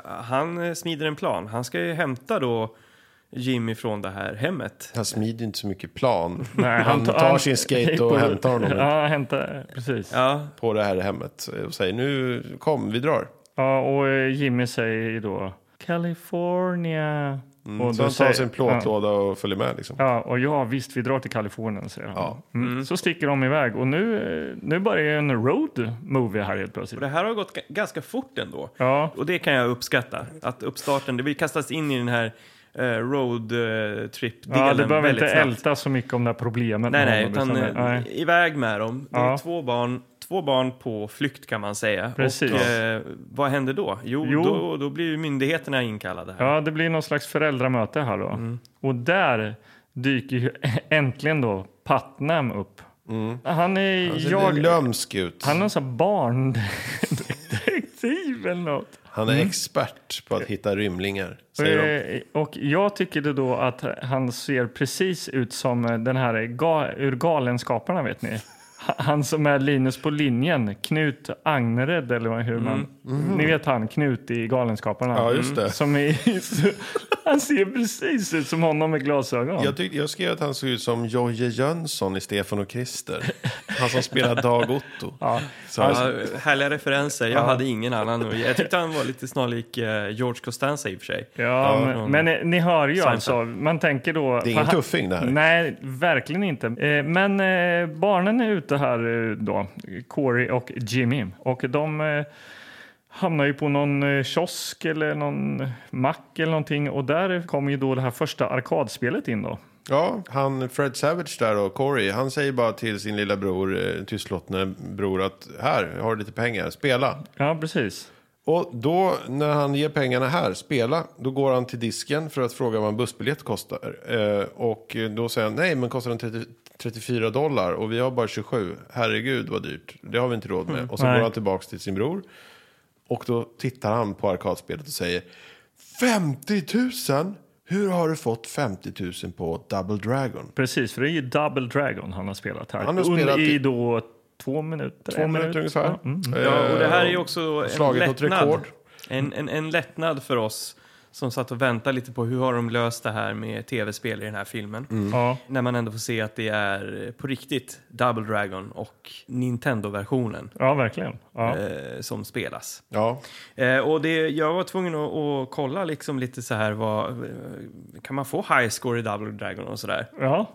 Speaker 2: han eh, smider en plan. Han ska ju hämta då Jimmy från det här hemmet.
Speaker 1: Han smider inte så mycket plan.
Speaker 3: Nej,
Speaker 1: han tar
Speaker 3: han-
Speaker 1: sin skate och hämtar honom
Speaker 3: Ja, han hämtar, precis. Ja.
Speaker 2: Ja,
Speaker 1: på det här hemmet och säger nu kom, vi drar.
Speaker 3: och eh, Jimmy säger ju då California. och
Speaker 1: Mm, Så
Speaker 3: då
Speaker 1: han tar
Speaker 3: säger-
Speaker 1: sin
Speaker 3: Ja.
Speaker 1: plåtlåda och följer med liksom.
Speaker 3: Ja, och ja, visst, vi drar till Kalifornien, säger han.
Speaker 1: Ja.
Speaker 3: Mm. Så sticker de iväg och nu, eh, nu börjar ju en road movie här helt plötsligt.
Speaker 2: och det här har gått ga- ganska fort ändå.
Speaker 3: Ja,
Speaker 2: Och det kan jag uppskatta. Att uppstarten, det vi kastas in i den här eh, road eh, trip-delen
Speaker 3: ja du behöver
Speaker 2: väldigt
Speaker 3: inte
Speaker 2: snabbt.
Speaker 3: älta så mycket om det här problemet.
Speaker 2: Nej,
Speaker 3: med
Speaker 2: nej,
Speaker 3: honom,
Speaker 2: utan
Speaker 3: utan, eh,
Speaker 2: eh,
Speaker 3: nej.
Speaker 2: iväg med dem. Det är
Speaker 3: Ja.
Speaker 2: två, barn, två barn på flykt kan man säga.
Speaker 3: Precis.
Speaker 2: Och eh, vad händer då? Jo,
Speaker 3: Jo.
Speaker 2: Då, då blir ju myndigheterna inkallade. Här.
Speaker 3: Ja, det blir någon slags föräldramöte här då.
Speaker 2: Mm.
Speaker 3: Och där dyker ju äntligen då Putnam upp.
Speaker 2: Mm.
Speaker 3: Han är...
Speaker 1: Han
Speaker 2: alltså,
Speaker 1: ser
Speaker 3: jag,
Speaker 1: Alltså, lömsk ut.
Speaker 3: han är
Speaker 1: Han,
Speaker 3: en sån här barndetektiv eller något.
Speaker 1: är expert på att hitta rymlingar. Säger de.
Speaker 3: Mm. Eh, Och jag tycker det då att han ser precis ut som eh, den här ga, ur Galenskaparna, vet ni. Ha- Han som är Linus på linjen, Knut Agnered eller vad- hur man... Ni vet han, Knut i Galenskaparna.
Speaker 1: Mm. Ja, just det.
Speaker 3: Som är, han ser precis ut som honom med glasögon.
Speaker 1: Jag, tyckte, jag skrev att han såg ut som Jojje Jönsson i Stefan och Krister. Han som spelar Dag Otto. Så,
Speaker 2: Ja, härliga referenser. Jag hade ingen annan. Jag tyckte han var lite snarlik eh, George Costanza i och för sig.
Speaker 3: Ja, men, men eh, ni hör ju
Speaker 2: Seinfeld.
Speaker 3: alltså. Man tänker då...
Speaker 1: Det är ingen tuffing det här.
Speaker 3: Nej, verkligen inte. Eh, Men eh, barnen är ute här eh, då, Corey och Jimmy. Och de eh, hamnar ju på någon eh, kiosk eller någon mack eller någonting och där kommer ju då det här första arkadspelet in då.
Speaker 1: Ja, han Fred Savage där och Corey, han säger bara till sin lilla bror, eh, tystlåtne bror att här, jag har lite pengar, spela.
Speaker 3: Ja, precis.
Speaker 1: Och då när han ger pengarna här, spela, då går han till disken för att fråga vad en bussbiljett kostar. Eh, och då säger han, nej men kostar den 30, 34 dollar och vi har bara 27. Herregud vad dyrt, det har vi inte råd med. Och så
Speaker 3: Mm, nej.
Speaker 1: går han tillbaks till sin bror. Och då tittar han på arkadspelet och säger, 50 000? Hur har du fått 50 000 på Double Dragon?
Speaker 3: Precis, för det är ju Double Dragon han har spelat här.
Speaker 1: Han har spelat
Speaker 3: i
Speaker 1: i-
Speaker 3: då två minuter.
Speaker 1: Två
Speaker 3: en
Speaker 1: minuter
Speaker 3: minut.
Speaker 1: ungefär.
Speaker 3: Ja, mm.
Speaker 2: Ja, och det här är ju
Speaker 1: Eh,
Speaker 2: också då en
Speaker 1: slagit något
Speaker 2: lättnad.
Speaker 1: rekord.
Speaker 2: En, en, en lättnad för oss som satt och väntade lite på hur har de löst det här med tv-spel i den här filmen.
Speaker 1: Mm.
Speaker 3: Ja.
Speaker 2: När man ändå får se att det är eh, på riktigt Double Dragon och Nintendo-versionen
Speaker 3: ja, verkligen. Ja.
Speaker 2: eh, som spelas.
Speaker 1: Ja,
Speaker 2: Eh, och det, jag var tvungen att, att kolla liksom lite så här, vad, eh, kan man få high score i Double Dragon och sådär?
Speaker 3: ja,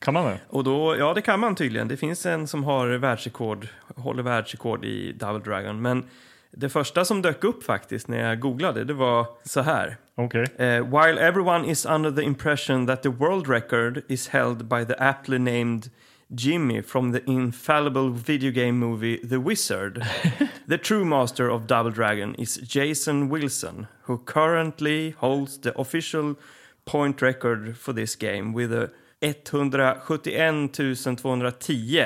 Speaker 3: kan man det?
Speaker 2: Och då, ja det kan man tydligen. Det finns en som har världsrekord, håller världsrekord i Double Dragon. Men det första som dök upp faktiskt när jag googlade, det var så här.
Speaker 3: Okej.
Speaker 2: Eh, while everyone is under the impression that the world record is held by the aptly named Jimmy from the infallible video game movie The Wizard, the true master of Double Dragon is Jason Wilson, who currently holds the official point record for this game with a 171 210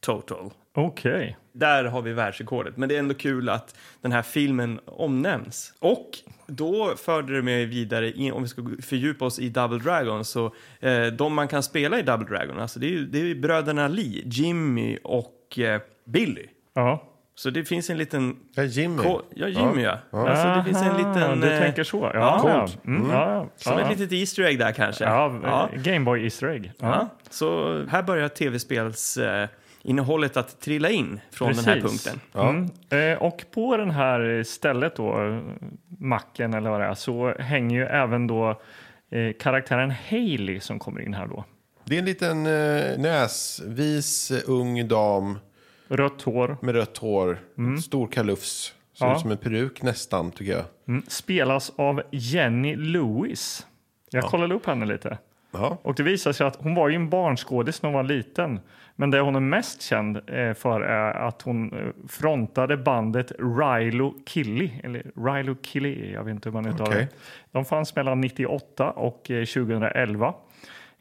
Speaker 2: total.
Speaker 3: Okej.
Speaker 2: Där har vi världsrekordet. Men det är ändå kul att den här filmen omnämns. Och då förde det mig vidare, in, om vi ska fördjupa oss i Double Dragon, så eh, de man kan spela i Double Dragon, alltså det är ju, det är ju bröderna Lee, Jimmy och eh, Billy.
Speaker 3: Ja.
Speaker 2: Så det finns en liten...
Speaker 1: ja Jimmy.
Speaker 2: Ko- ja, Jimmy ja. Alltså det finns en
Speaker 3: Aha,
Speaker 2: liten...
Speaker 3: Du
Speaker 2: eh,
Speaker 3: tänker så? Ja.
Speaker 2: ja,
Speaker 3: ja. Mm. ja, ja.
Speaker 2: Som
Speaker 3: ja.
Speaker 2: ett litet Easter egg där kanske.
Speaker 3: Ja, Gameboy Easter egg.
Speaker 2: Ja, Så här börjar tv-spels... Eh, innehållet att trilla in från den här punkten.
Speaker 3: Mm. Eh, Och på den här stället då, eh, macken eller vad det är, så hänger ju även då eh, karaktären Hailey som kommer in här då.
Speaker 1: Det är en liten eh, näsvis eh, ung dam
Speaker 3: Rött hår,
Speaker 1: med rött hår, stor kalufs. Ser
Speaker 3: Mm. Ja.
Speaker 1: ut som en peruk nästan tycker jag.
Speaker 3: mm. spelas av Jenny Lewis. Jag kollade upp henne lite.
Speaker 1: Ja.
Speaker 3: Och det visar sig att hon var ju en barnskådis när hon var liten. Men det hon är mest känd eh, för är att hon eh, frontade bandet Rilo Killy. Eller Rilo Killy, jag vet inte hur man uttalar
Speaker 1: Okej.
Speaker 3: det. De fanns mellan 98 och eh, 2011.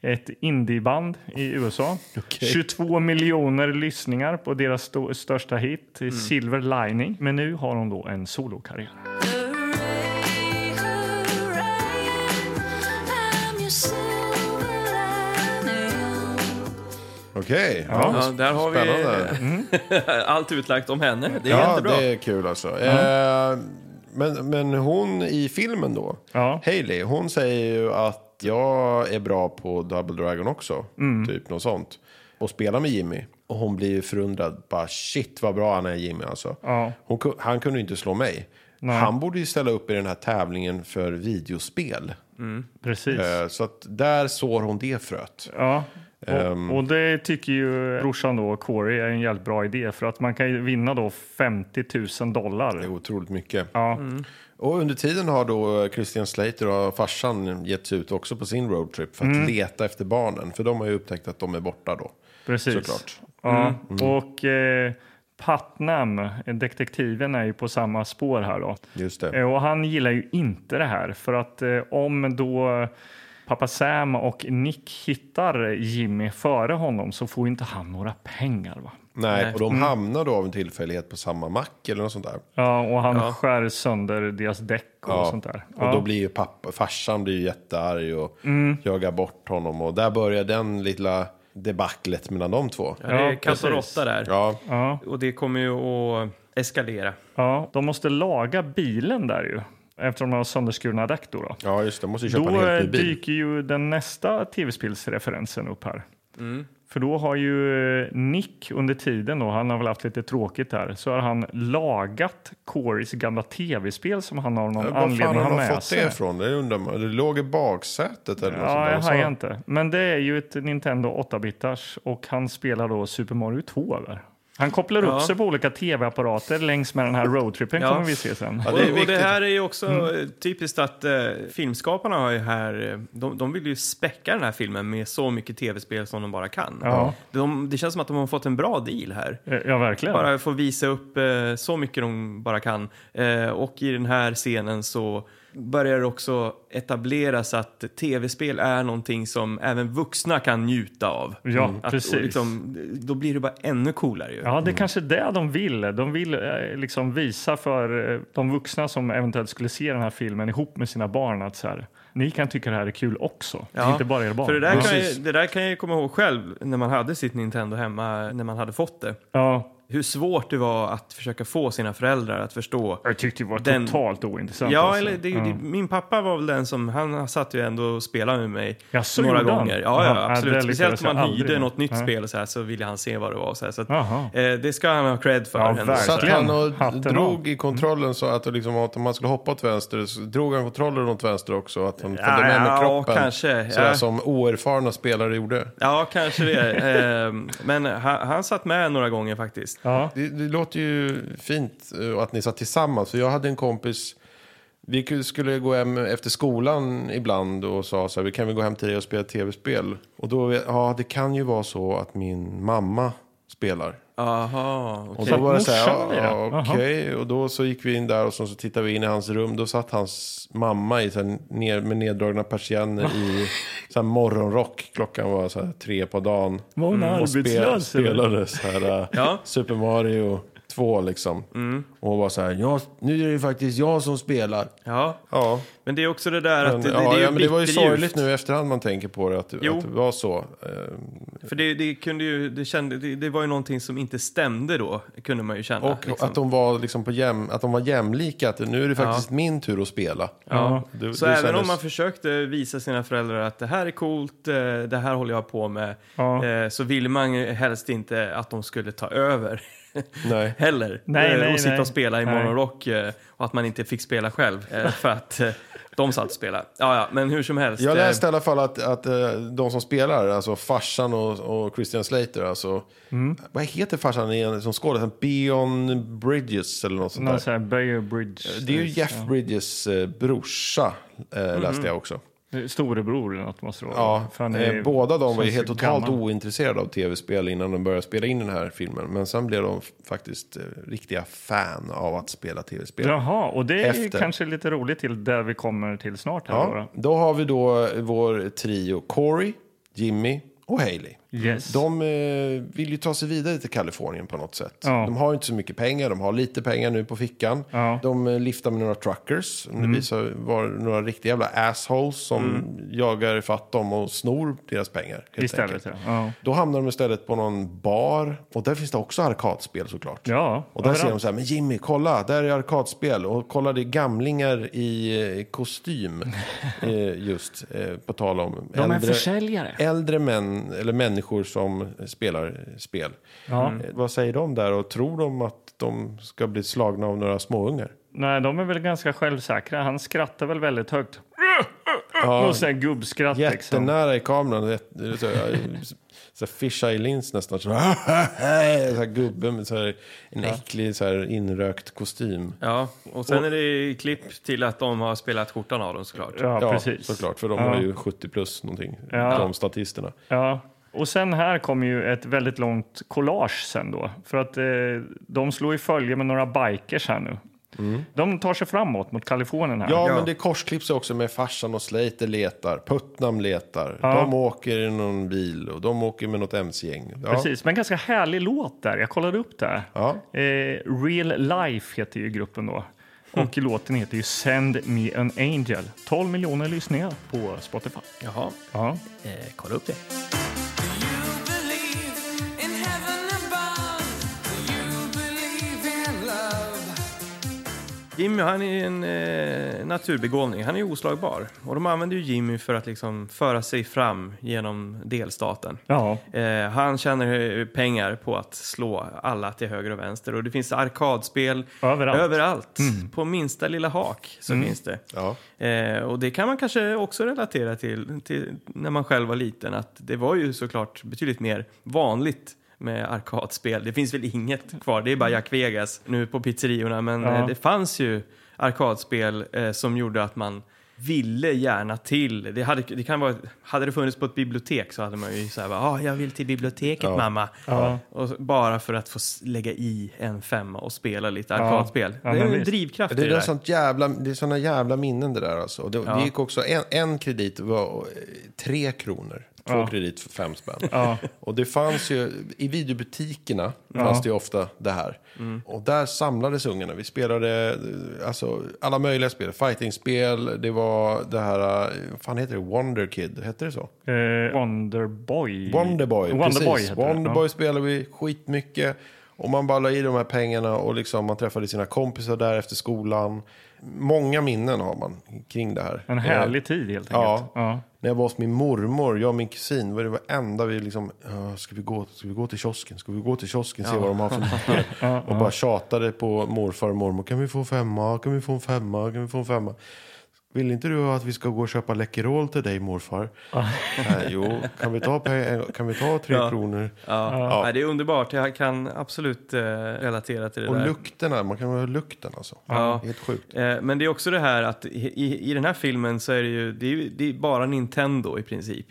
Speaker 3: Ett indieband i USA. 22 miljoner lyssningar på deras sto- största hit,
Speaker 1: Mm.
Speaker 3: eh, Silver Lining. Men nu har hon då en solokarriär.
Speaker 1: Okej, ja.
Speaker 2: Ja, där har vi-
Speaker 1: spännande.
Speaker 2: Allt utlagt om henne. Det är
Speaker 1: ja,
Speaker 2: jättebra.
Speaker 1: det är kul alltså. Eh, men, men hon i filmen då,
Speaker 3: Ja.
Speaker 1: Hailey, hon säger ju att jag är bra på Double Dragon också.
Speaker 3: Mm.
Speaker 1: Typ något sånt. Och spelar med Jimmy. Och hon blir ju förundrad. Bara shit vad bra han är Jimmy alltså.
Speaker 3: Ja.
Speaker 1: Hon, ku- han kunde ju inte slå mig. Han borde ju ställa upp i den här tävlingen för videospel.
Speaker 3: Precis.
Speaker 1: Eh, Så att där sår hon det fröet.
Speaker 3: Ja.
Speaker 1: Ehm.
Speaker 3: Och, och det tycker ju brorsan då, Corey, är en jävligt bra idé för att man kan ju vinna då 50 000
Speaker 1: Det är
Speaker 3: dollar.
Speaker 1: otroligt mycket. Mm.
Speaker 3: Ja,
Speaker 1: Och under tiden har då Christian Slater och farsan gett sig ut också på sin roadtrip för att
Speaker 3: Mm.
Speaker 1: leta efter barnen. För de har ju upptäckt att de är borta då.
Speaker 3: precis.
Speaker 1: Såklart. Mm.
Speaker 3: Ja. Och eh, Patnam, eh, detektiven, är ju på samma spår här då.
Speaker 1: Just det.
Speaker 3: Eh, Och han gillar ju inte det här för att eh, om då pappa Sam och Nick hittar Jimmy före honom så får ju inte han några pengar va.
Speaker 1: Nej, och de
Speaker 3: Mm.
Speaker 1: hamnar då av en tillfällighet på samma mack eller något sånt där.
Speaker 3: Ja, och han skär sönder deras däck och sånt där. Ja. Mm.
Speaker 1: Och då blir ju pappa, farsan blir ju jättearg och jagar bort honom. Och där börjar den lilla debaclet mellan de två.
Speaker 2: Ja, det är
Speaker 3: Ja,
Speaker 2: katt och
Speaker 3: precis.
Speaker 2: råtta där.
Speaker 1: Ja,
Speaker 2: Och det kommer ju att eskalera.
Speaker 3: Ja, de måste laga bilen där ju. Eftersom de har sönderskurna däck då. Då,
Speaker 1: ja just det. Måste ju köpa
Speaker 3: då
Speaker 1: en
Speaker 3: eh,
Speaker 1: helt ny bil.
Speaker 3: dyker ju den nästa tv-spelsreferensen upp här.
Speaker 1: Mm.
Speaker 3: För då har ju eh, Nick under tiden då, han har väl haft lite tråkigt där, så har han lagat Corys gamla tv-spel som han av någon
Speaker 1: Var Eh, fan
Speaker 3: anledning
Speaker 1: har
Speaker 3: har
Speaker 1: de
Speaker 3: med
Speaker 1: fått
Speaker 3: sig.
Speaker 1: det ifrån? Det undrar man. Det låg i baksätet eller något sånt
Speaker 3: Ja,
Speaker 1: där.
Speaker 3: jag
Speaker 1: Och så-
Speaker 3: hajar inte. Men det är ju ett Nintendo 8-bitars och han spelar då Super Mario 2 över. Han kopplar
Speaker 2: Ja.
Speaker 3: upp sig på olika tv-apparater längs med den här roadtrippen
Speaker 2: Ja.
Speaker 3: kommer vi se sen.
Speaker 1: Ja, det är
Speaker 2: Och, och
Speaker 1: viktigt. Mm.
Speaker 2: det här är ju också eh, typiskt att eh, filmskaparna har ju här, eh, de, de vill ju späcka den här filmen med så mycket tv-spel som de bara kan.
Speaker 3: Ja.
Speaker 2: De, det känns som att de har fått en bra deal här.
Speaker 3: Eh, Ja, verkligen.
Speaker 2: Bara få visa upp eh, så mycket de bara kan. Eh, och i den här scenen så börjar det också etableras att tv-spel är någonting som även vuxna kan njuta av. Mm.
Speaker 3: Ja,
Speaker 2: Att- och
Speaker 3: precis.
Speaker 2: Liksom, då blir det bara ännu coolare ju.
Speaker 3: Ja,
Speaker 1: Mm.
Speaker 3: det är kanske det de vill. De vill eh, liksom visa för eh, de vuxna som eventuellt skulle se den här filmen ihop med sina barn att så här, ni kan tycka det här är kul också,
Speaker 2: Ja,
Speaker 3: inte bara er barn.
Speaker 2: För det där, kan jag,
Speaker 1: Precis.
Speaker 2: det där kan jag ju komma ihåg själv när man hade sitt Nintendo hemma, när man hade fått det.
Speaker 3: ja,
Speaker 2: Hur svårt det var att försöka få sina föräldrar att förstå.
Speaker 3: jag tyckte det var
Speaker 2: Den-
Speaker 3: totalt ointressant.
Speaker 2: Ja,
Speaker 3: alltså.
Speaker 2: eller det,
Speaker 3: Ja.
Speaker 2: det, min pappa var väl den som, han satt ju ändå och spelade med mig
Speaker 3: Jaså,
Speaker 2: några
Speaker 3: gjorde han?
Speaker 2: gånger. Ja, ja,
Speaker 3: Jaha, ja,
Speaker 2: absolut.
Speaker 3: det
Speaker 2: Speciellt
Speaker 3: lyckades
Speaker 2: om man
Speaker 3: jag
Speaker 2: hyrde
Speaker 3: aldrig med.
Speaker 2: något nytt
Speaker 3: Nej.
Speaker 2: spel och så, här, så ville han se vad det var. och Så här, så att,
Speaker 3: Jaha.
Speaker 2: eh, det ska han ha cred för.
Speaker 3: Ja,
Speaker 2: ändå.
Speaker 3: verkligen.
Speaker 2: Så
Speaker 1: Satt
Speaker 2: att-
Speaker 1: han och
Speaker 3: Hatten
Speaker 1: drog
Speaker 2: Mm.
Speaker 1: i kontrollen så att det liksom, att om man skulle hoppa åt vänster så drog han kontrollen åt vänster också. Att han följde med
Speaker 2: ja,
Speaker 1: med kroppen.
Speaker 2: kanske.
Speaker 1: Sådär
Speaker 2: Ja.
Speaker 1: som oerfarna spelare gjorde.
Speaker 2: Ja, kanske det. eh, men han, han satt med några gånger faktiskt.
Speaker 3: Ja.
Speaker 1: Det, det låter ju fint eh, att ni satt tillsammans. För jag hade en kompis, vi ku- skulle gå hem efter skolan ibland och sa så här, vi kan väl gå hem till dig och spela tv-spel. Och då, ja det kan ju vara så att min mamma spelar.
Speaker 2: Aha,
Speaker 1: Och
Speaker 2: okej.
Speaker 1: då var det så här,
Speaker 3: Morsan var
Speaker 1: ja,
Speaker 3: det,
Speaker 1: ja,
Speaker 3: ja.
Speaker 1: okej. Och då så gick vi in där och så, så tittade vi in i hans rum. Då satt hans mamma i, så här, ner, med neddragna persienner i så här, morgonrock. Klockan var så här, tre på dagen.
Speaker 3: Var hon
Speaker 1: Och spel,
Speaker 3: arbetslös? eller?
Speaker 1: spelade så här, äh,
Speaker 2: Ja. Mm.
Speaker 1: Super Mario 2 liksom. Och hon var så här, ja, nu är det ju faktiskt jag som spelar.
Speaker 2: Ja,
Speaker 1: Ja,
Speaker 2: men det är också det där att
Speaker 1: men,
Speaker 2: det, det,
Speaker 1: ja,
Speaker 2: det är
Speaker 1: ja, men det var ju
Speaker 2: bitterljuvt.
Speaker 1: sorgligt nu i efterhand man tänker på det, att, att
Speaker 2: Jo.
Speaker 1: det var så. Eh,
Speaker 2: För det, det kunde ju, det kände, det, det var ju någonting som inte stämde då, kunde man ju känna.
Speaker 1: Och
Speaker 2: liksom.
Speaker 1: att de var liksom på jäm, att de var jämlika, att nu är det faktiskt min tur att spela.
Speaker 2: Ja.
Speaker 1: Det-
Speaker 2: Så
Speaker 1: det
Speaker 2: även
Speaker 1: kändes-
Speaker 2: om man försökte visa sina föräldrar att det här är coolt, eh, det här håller jag på med,
Speaker 3: Ja.
Speaker 2: eh, så ville man ju helst inte att de skulle ta över
Speaker 1: Nej.
Speaker 2: heller.
Speaker 3: Nej,
Speaker 2: Eh,
Speaker 3: nej,
Speaker 2: och sitta
Speaker 3: nej.
Speaker 2: och spela i
Speaker 3: Nej.
Speaker 2: morgonrock eh, och att man inte fick spela själv eh, för att eh, de satt och spelade. Ja, ja, men hur som helst.
Speaker 1: Jag
Speaker 2: eh,
Speaker 1: läste i alla fall att, att eh, de som spelar, alltså farsan och, och Christian Slater, alltså,
Speaker 3: Mm.
Speaker 1: vad heter farsan igen som skådis? Beon Bridges eller något sånt
Speaker 3: Någon
Speaker 1: där.
Speaker 3: sån här Bayer Bridge.
Speaker 1: Det är ju Jeff Bridges eh, brorsa, eh, läste jag också.
Speaker 3: Storebror eller något måste det vara.
Speaker 1: Ja,
Speaker 3: Mm-hmm. För han är-
Speaker 1: eh, båda de var ju
Speaker 3: känns
Speaker 1: helt
Speaker 3: så
Speaker 1: totalt
Speaker 3: gammal.
Speaker 1: ointresserade av tv-spel innan de började spela in den här filmen. Men sen blev de f- faktiskt eh, riktiga fan av att spela tv-spel.
Speaker 3: Jaha, och det är ju
Speaker 1: Efter.
Speaker 3: kanske lite roligt till där vi kommer till snart. Här
Speaker 1: Ja,
Speaker 3: ja.
Speaker 1: då har vi då vår trio Corey, Jimmy och Haley.
Speaker 3: Yes.
Speaker 1: De eh, vill ju ta sig vidare till Kalifornien på något sätt.
Speaker 3: Ja.
Speaker 1: De har ju inte så mycket pengar, de har lite pengar nu på fickan.
Speaker 3: Ja. Mm.
Speaker 1: De eh, liftar med några truckers. Det visar var några riktiga jävla assholes som jagar fatt dem och snor deras pengar. helt
Speaker 3: Istället,
Speaker 1: enkelt.
Speaker 3: ja. Ja.
Speaker 1: Då hamnar de istället på någon bar och där finns det också arkadspel såklart.
Speaker 3: Ja,
Speaker 1: och där ser de
Speaker 3: överallt.
Speaker 1: så här, men Jimmy, kolla, där är arkadspel och kolla det är gamlingar i eh, kostym eh, just eh, på tal om
Speaker 3: De är försäljare.
Speaker 1: äldre män eller människor som spelar spel.
Speaker 3: Ja.
Speaker 1: Eh, Vad säger de där och tror de att de ska bli slagna av några småungar?
Speaker 3: Nej, de är väl ganska självsäkra. Han skrattar väl väldigt högt. Och sen gubbskratt liksom.
Speaker 1: Jättenära i kameran. jätte- Så, här, så här fisheye lins nästan. Så här, så här gubbe med så här, en äcklig så här, inrökt kostym.
Speaker 2: Ja, och sen är det klipp till att de har spelat skjortan av dem såklart.
Speaker 3: Ja, precis.
Speaker 1: såklart. För de
Speaker 3: Ja.
Speaker 1: var ju 70 plus någonting.
Speaker 3: Ja.
Speaker 1: De statisterna.
Speaker 3: Ja. Och sen här kommer ju ett väldigt långt collage sen då. För att eh, de slår ju följe med några bikers här nu. De tar sig framåt mot Kalifornien här.
Speaker 1: Mm. Ja, men det korsklipps också med farsan och Slater letar. Putnam letar.
Speaker 3: Ja.
Speaker 1: De åker i någon bil och de åker med något mc-gäng. Ja.
Speaker 3: Precis, men ganska härlig låt där. Jag kollade upp det.
Speaker 1: Ja.
Speaker 3: Eh, Real Life heter ju gruppen då.
Speaker 1: Hm.
Speaker 3: Och låten heter ju Send Me An Angel. 12 miljoner lyssningar på Spotify.
Speaker 2: Jaha,
Speaker 3: Ja.
Speaker 2: eh, kolla upp det. Jimmy han är en eh, naturbegåvning, han är oslagbar. Och de använder ju Jimmy för att liksom föra sig fram genom delstaten.
Speaker 3: ja.
Speaker 2: Eh, han tjänar eh, pengar på att slå alla till höger och vänster. Och det finns arkadspel
Speaker 3: Överallt.
Speaker 2: överallt. På minsta lilla hak så finns det.
Speaker 1: Ja.
Speaker 2: Eh, och det kan man kanske också relatera till, till när man själv var liten. Att det var ju såklart betydligt mer vanligt med arkadspel. Det finns väl inget kvar, det är bara Jack Vegas nu på pizzeriorna. Men
Speaker 3: Ja.
Speaker 2: eh, det fanns ju arkadspel eh, som gjorde att man ville gärna till. Det hade, det kan vara, hade det funnits på ett bibliotek så hade man ju så här, bara, ah, jag vill till biblioteket
Speaker 1: Ja.
Speaker 2: mamma.
Speaker 3: Ja.
Speaker 2: Och så- bara för att få s- lägga i en femma och spela lite arkadspel.
Speaker 3: Ja,
Speaker 2: det är
Speaker 3: men
Speaker 2: en
Speaker 3: visst.
Speaker 2: drivkraft
Speaker 1: Det
Speaker 2: i
Speaker 1: är,
Speaker 2: det där.
Speaker 1: sånt jävla, det är såna jävla minnen det där alltså. Och Det, det gick också, en, en kredit var eh, tre kronor. Två kredit för fem spänn. Och det fanns ju, i videobutikerna fanns det ju ofta det här.
Speaker 2: Mm.
Speaker 1: Och där samlades ungarna. Vi spelade eh, alltså, alla möjliga spel. Fightingspel, det var det här, eh, vad fan heter det? Wonder Kid, hette det så?
Speaker 3: Eh, Wonderboy.
Speaker 1: Wonderboy,
Speaker 3: Wonderboy
Speaker 1: precis.
Speaker 3: heter det, ja.
Speaker 1: Wonderboy spelade vi skitmycket. Och man bara la i de här pengarna och liksom man träffade sina kompisar där efter skolan. Många minnen har man kring det här.
Speaker 3: En härlig tid helt enkelt.
Speaker 1: Eh, Ja.
Speaker 3: Ja.
Speaker 1: När jag var hos min mormor, jag och min kusin, var det enda vi liksom, "Ja, ska vi, gå, ska vi gå till kiosken, ska vi gå till kiosken, se vad de har för mycket. och bara tjatade på morfar och mormor, kan vi få en femma, kan vi få en femma, kan vi få en femma. Vill inte du att vi ska gå och köpa Läkerol till dig morfar? Nej, jo, kan vi ta, pe- kan vi ta tre kronor?
Speaker 2: Ja. Nej, det är underbart. Jag kan absolut eh, relatera till det
Speaker 1: Och
Speaker 2: där.
Speaker 1: lukterna, man kan höra lukten alltså. Helt sjukt.
Speaker 2: Eh, men det är också det här att i, i, i den här filmen så är det ju, det är, ju- det är bara Nintendo i princip.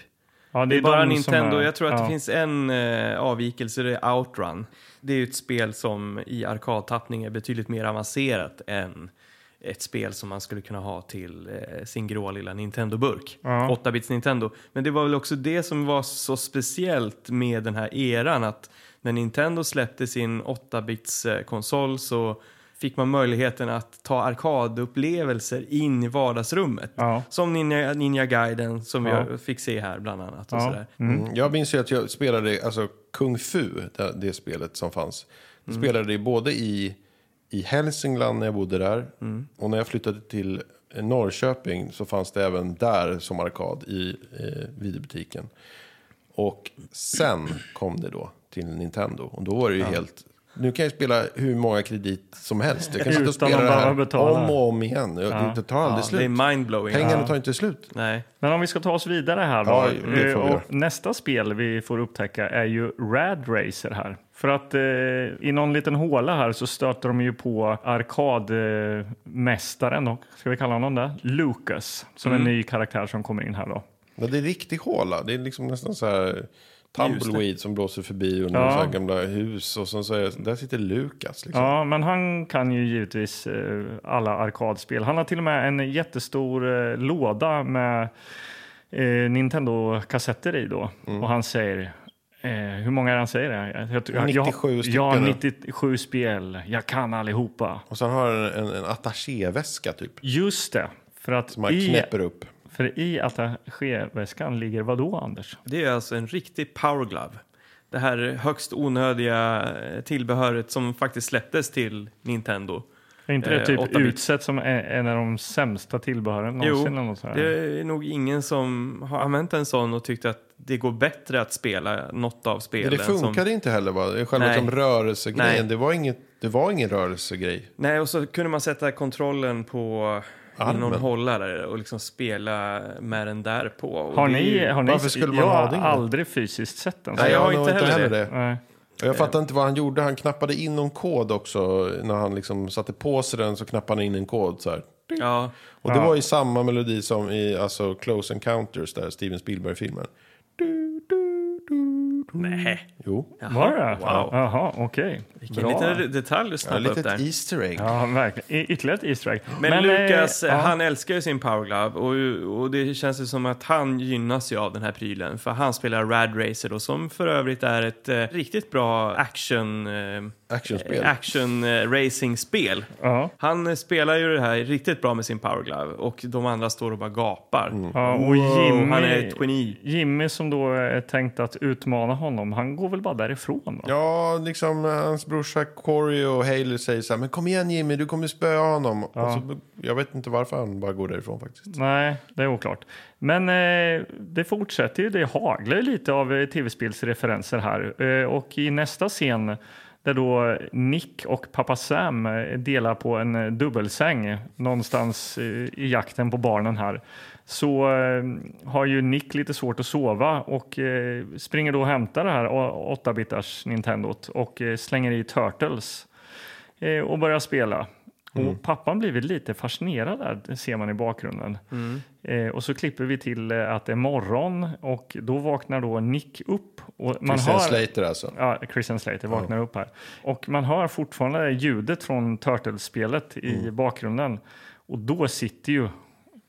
Speaker 3: Ja,
Speaker 2: Det är, bara
Speaker 3: de som
Speaker 2: Nintendo.
Speaker 3: är-
Speaker 2: Jag tror att
Speaker 3: ja.
Speaker 2: det finns en eh, avvikelse, det är Outrun. Det är ju ett spel som i arkadtappning är betydligt mer avancerat än ett spel som man skulle kunna ha till eh, sin grå lilla Nintendo-burk. 8-bits Nintendo. Men det var väl också det som var så speciellt med den här eran att när Nintendo släppte sin 8-bits eh, konsol så fick man möjligheten att ta arkadupplevelser in i vardagsrummet.
Speaker 3: Ja.
Speaker 2: Som Ninja, Ninja Gaiden som
Speaker 3: Ja.
Speaker 2: jag fick se här bland annat. Och
Speaker 3: Ja.
Speaker 2: sådär.
Speaker 1: Mm. Jag minns ju att jag spelade alltså, Kung Fu, det, det spelet som fanns. Spelade det både i, i Hälsingland när jag bodde där och när jag flyttade till eh, Norrköping så fanns det även där som arkad i eh, videobutiken. Och sen kom det då till Nintendo och då var det ju helt... Nu kan jag spela hur många kredit som helst. Jag kan sitta och
Speaker 3: Utan
Speaker 1: spela
Speaker 3: att
Speaker 1: det här
Speaker 3: behöva betala.
Speaker 1: om och om igen. Jag- Det tar aldrig
Speaker 2: Ja, det är
Speaker 1: slut.
Speaker 2: mindblowing.
Speaker 1: Pengarna tar inte slut.
Speaker 2: Nej.
Speaker 3: Men om vi ska ta oss vidare här då.
Speaker 1: Ja, det får vi
Speaker 3: Eh,
Speaker 1: göra.
Speaker 3: och nästa spel vi får upptäcka är ju Rad Racer här. För att eh, i någon liten håla här så stöter de ju på arkadmästaren, då, ska vi kalla honom det? Lucas, som
Speaker 2: Mm.
Speaker 3: är en ny karaktär som kommer in här då.
Speaker 1: Ja, det är riktig håla. Det är liksom nästan så här tumbleweed som blåser förbi under
Speaker 3: Ja.
Speaker 1: så här gamla hus. Och sen så är, där sitter Lukas. Liksom.
Speaker 3: Ja, men han kan ju givetvis eh, alla arkadspel. Han har till och med en jättestor eh, låda med eh, Nintendo-kassetter i då.
Speaker 1: Mm.
Speaker 3: Och han säger, eh, hur många är det han säger? det? Jag, tror-
Speaker 1: 97
Speaker 3: jag,
Speaker 1: stycken,
Speaker 3: Ja,
Speaker 1: eller?
Speaker 3: 97 spel. Jag kan allihopa.
Speaker 1: Och sen har han en, en attachéväska typ.
Speaker 3: Just det. För att
Speaker 1: Som han
Speaker 3: i,
Speaker 1: knäpper upp.
Speaker 3: för i attachéväskan ligger vad då, Anders?
Speaker 2: Det är alltså en riktig power glove. Det här högst onödiga eh, tillbehöret som faktiskt släpptes till Nintendo.
Speaker 3: Är inte det
Speaker 2: Eh,
Speaker 3: typ
Speaker 2: åtta bit.
Speaker 3: utsett som en, en av de sämsta tillbehören
Speaker 2: Jo,
Speaker 3: någonsin? eller något så här?
Speaker 2: det är nog ingen som har använt en sån och tyckt att det går bättre att spela något av
Speaker 1: Men
Speaker 2: spelen.
Speaker 1: det funkade
Speaker 2: Som,
Speaker 1: inte heller va? Själva
Speaker 2: Nej.
Speaker 1: som rörelsegrejen.
Speaker 2: Nej.
Speaker 1: Det var, inget, det var ingen rörelsegrej.
Speaker 2: nej, och så kunde man sätta kontrollen på i någon
Speaker 1: Armen.
Speaker 2: hållare och liksom spela med den där på. Och
Speaker 3: Har
Speaker 2: det är ju-
Speaker 3: ni, har ni,
Speaker 1: Varför skulle man
Speaker 3: jag
Speaker 1: ha
Speaker 3: har
Speaker 1: det?
Speaker 3: aldrig fysiskt sett den. så
Speaker 2: Nej, jag har
Speaker 1: nog
Speaker 2: inte heller
Speaker 1: det.
Speaker 3: Nej.
Speaker 1: Och jag fattar inte vad han gjorde. Han knappade in någon kod också. När han liksom satte på sig den så knappade han in en kod så här.
Speaker 2: Ja,
Speaker 1: Och det var ju samma melodi som i alltså, Close Encounters, där Steven Spielberg-filmen. Du, du, du, du.
Speaker 3: Mm.
Speaker 2: nej.
Speaker 1: Jo.
Speaker 3: Var det?
Speaker 2: Wow.
Speaker 3: Jaha, okej.
Speaker 2: Vilken liten detalj du
Speaker 1: Ja,
Speaker 2: snappade upp
Speaker 1: lite
Speaker 2: där.
Speaker 1: ett Easter egg.
Speaker 3: Ja, verkligen. Y- Ytterligare ett Easter egg.
Speaker 2: Men,
Speaker 3: eh,
Speaker 2: Lukas,
Speaker 3: ja.
Speaker 2: han älskar ju sin Power Glove och, och det känns ju som att han gynnas ju av den här prylen för han spelar Rad Racer då, som för övrigt är ett eh, riktigt bra action, eh,
Speaker 1: Actionspel.
Speaker 2: action eh, racing-spel.
Speaker 3: Ja.
Speaker 2: Han eh, spelar ju det här riktigt bra med sin Power Glove och de andra står och bara gapar.
Speaker 3: Ja, och
Speaker 2: Wow,
Speaker 3: Jimmy,
Speaker 2: han är ett geni.
Speaker 3: Jimmy som då är tänkt att utmana honom, han går väl bara därifrån? Då?
Speaker 1: Ja, liksom eh, hans brorsa Corey och Haley säger så här, men kom igen Jimmy, du kommer spöa honom. Och så, jag vet inte varför han bara går därifrån faktiskt.
Speaker 3: Nej, det är oklart. Men eh, det fortsätter ju, det haglar ju lite av eh, tv-spelsreferenser här. Eh, och i nästa scen där då Nick och pappa Sam eh, delar på en eh, dubbelsäng någonstans eh, i jakten på barnen här så eh, har ju Nick lite svårt att sova och eh, springer då och hämtar det här å- 8-bitars Nintendot och eh, slänger i Turtles eh, och börjar spela.
Speaker 2: Mm.
Speaker 3: Och pappan blivit lite fascinerad där, det ser man i bakgrunden.
Speaker 2: Mm.
Speaker 3: Eh, och så klipper vi till eh, att det är morgon och då vaknar då Nick upp. Och man
Speaker 1: Christian
Speaker 3: hör,
Speaker 1: Slater alltså.
Speaker 3: Ja, Christian Slater vaknar upp här. Och man hör fortfarande ljudet från Turtles-spelet i
Speaker 2: Mm.
Speaker 3: bakgrunden. Och då sitter ju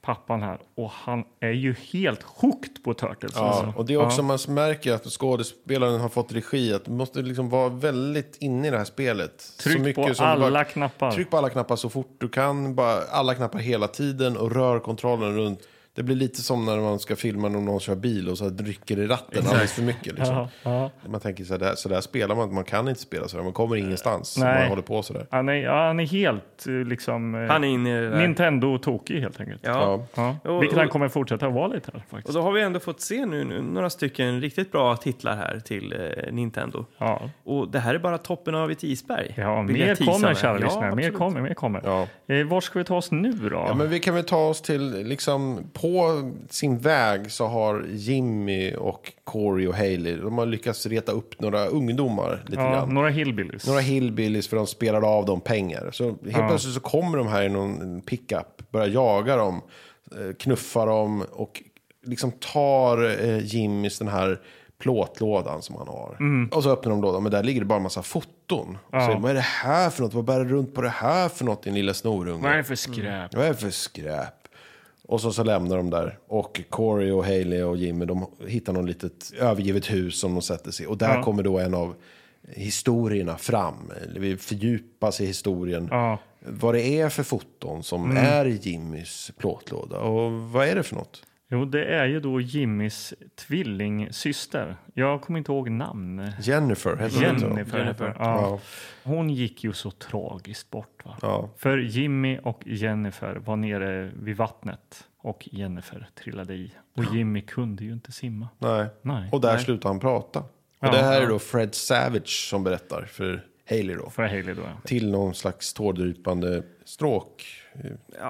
Speaker 3: pappan här och han är ju helt hooked på Turtles.
Speaker 1: Ja,
Speaker 3: alltså.
Speaker 1: och det är också man märker att skådespelaren har fått regi. Att man måste liksom vara väldigt inne i det här spelet.
Speaker 3: Tryck
Speaker 1: så
Speaker 3: på
Speaker 1: mycket som
Speaker 3: alla
Speaker 1: du bara,
Speaker 3: knappar.
Speaker 1: Tryck på alla knappar så fort du kan. Bara alla knappar hela tiden och rör kontrollen runt. Det blir lite som när man ska filma när någon kör bil och så här rycker i ratten alldeles för mycket. Liksom.
Speaker 3: Ja, ja.
Speaker 1: Man tänker så där, så där spelar man inte. Man kan inte spela så där. Man kommer ingenstans. om
Speaker 3: Nej.
Speaker 1: Man håller på så där.
Speaker 3: Han, är, ja, han är helt eh, liksom... eh,
Speaker 2: Han är inne i det där.
Speaker 3: Nintendo-tokig helt enkelt.
Speaker 2: Ja.
Speaker 3: Ja.
Speaker 2: Och-
Speaker 3: Vilket han
Speaker 2: och-
Speaker 3: kommer fortsätta vara lite här
Speaker 2: Och
Speaker 3: faktiskt.
Speaker 2: då har vi ändå fått se nu, nu några stycken riktigt bra titlar här till eh, Nintendo.
Speaker 3: Ja.
Speaker 2: Och det här är bara toppen av ett isberg.
Speaker 3: Ja,
Speaker 2: vill jag
Speaker 3: mer
Speaker 2: tisa
Speaker 3: kommer
Speaker 2: med.
Speaker 3: kära
Speaker 2: Ja,
Speaker 3: lyssnare. Mer
Speaker 2: absolut.
Speaker 3: kommer, mer kommer.
Speaker 1: Ja.
Speaker 3: Eh, var ska vi ta oss nu då?
Speaker 1: Ja, men vi kan väl ta oss till, liksom, på sin väg så har Jimmy och Corey och Haley, de har lyckats reta upp några ungdomar lite
Speaker 3: Ja,
Speaker 1: grann.
Speaker 3: några hillbillies.
Speaker 1: Några hillbillies för de spelade av dem pengar. Så helt plötsligt så kommer de här i någon pickup, börjar jaga dem, eh, knuffa dem och liksom tar eh, Jimmys den här plåtlådan som han har. Och så öppnar de lådan, men där ligger det bara en massa foton. Och Så, vad är det här för något? Vad bär du runt på det här för något din lilla snorunge?
Speaker 3: Vad är det för skräp?
Speaker 1: Vad är det för skräp? Och så, så lämnar de där. Och Corey och Haley och Jimmy de hittar någon litet övergivet hus som de sätter sig i. Och där kommer då en av historierna fram. Eller Vi fördjupas i historien.
Speaker 3: Ja. Mm.
Speaker 1: Vad det är för foton som är i Jimmys plåtlåda. Och vad är det för något?
Speaker 3: Jo, det är ju då Jimmys tvillingsyster. Jag kommer inte ihåg namn.
Speaker 1: Jennifer heter hon inte, va?
Speaker 3: Jennifer.
Speaker 2: Jennifer.
Speaker 3: Ja. Hon gick ju så tragiskt bort. Va?
Speaker 1: Ja.
Speaker 3: För Jimmy och Jennifer var nere vid vattnet och Jennifer trillade i. Och Jimmy kunde ju inte simma.
Speaker 1: Nej.
Speaker 3: Nej,
Speaker 1: Och där
Speaker 3: nej.
Speaker 1: slutar han prata. Och
Speaker 3: Ja,
Speaker 1: det här
Speaker 3: ja.
Speaker 1: är då Fred Savage som berättar för Haley då.
Speaker 3: För Haley då. ja.
Speaker 1: Till någon slags tårdrypande stråk.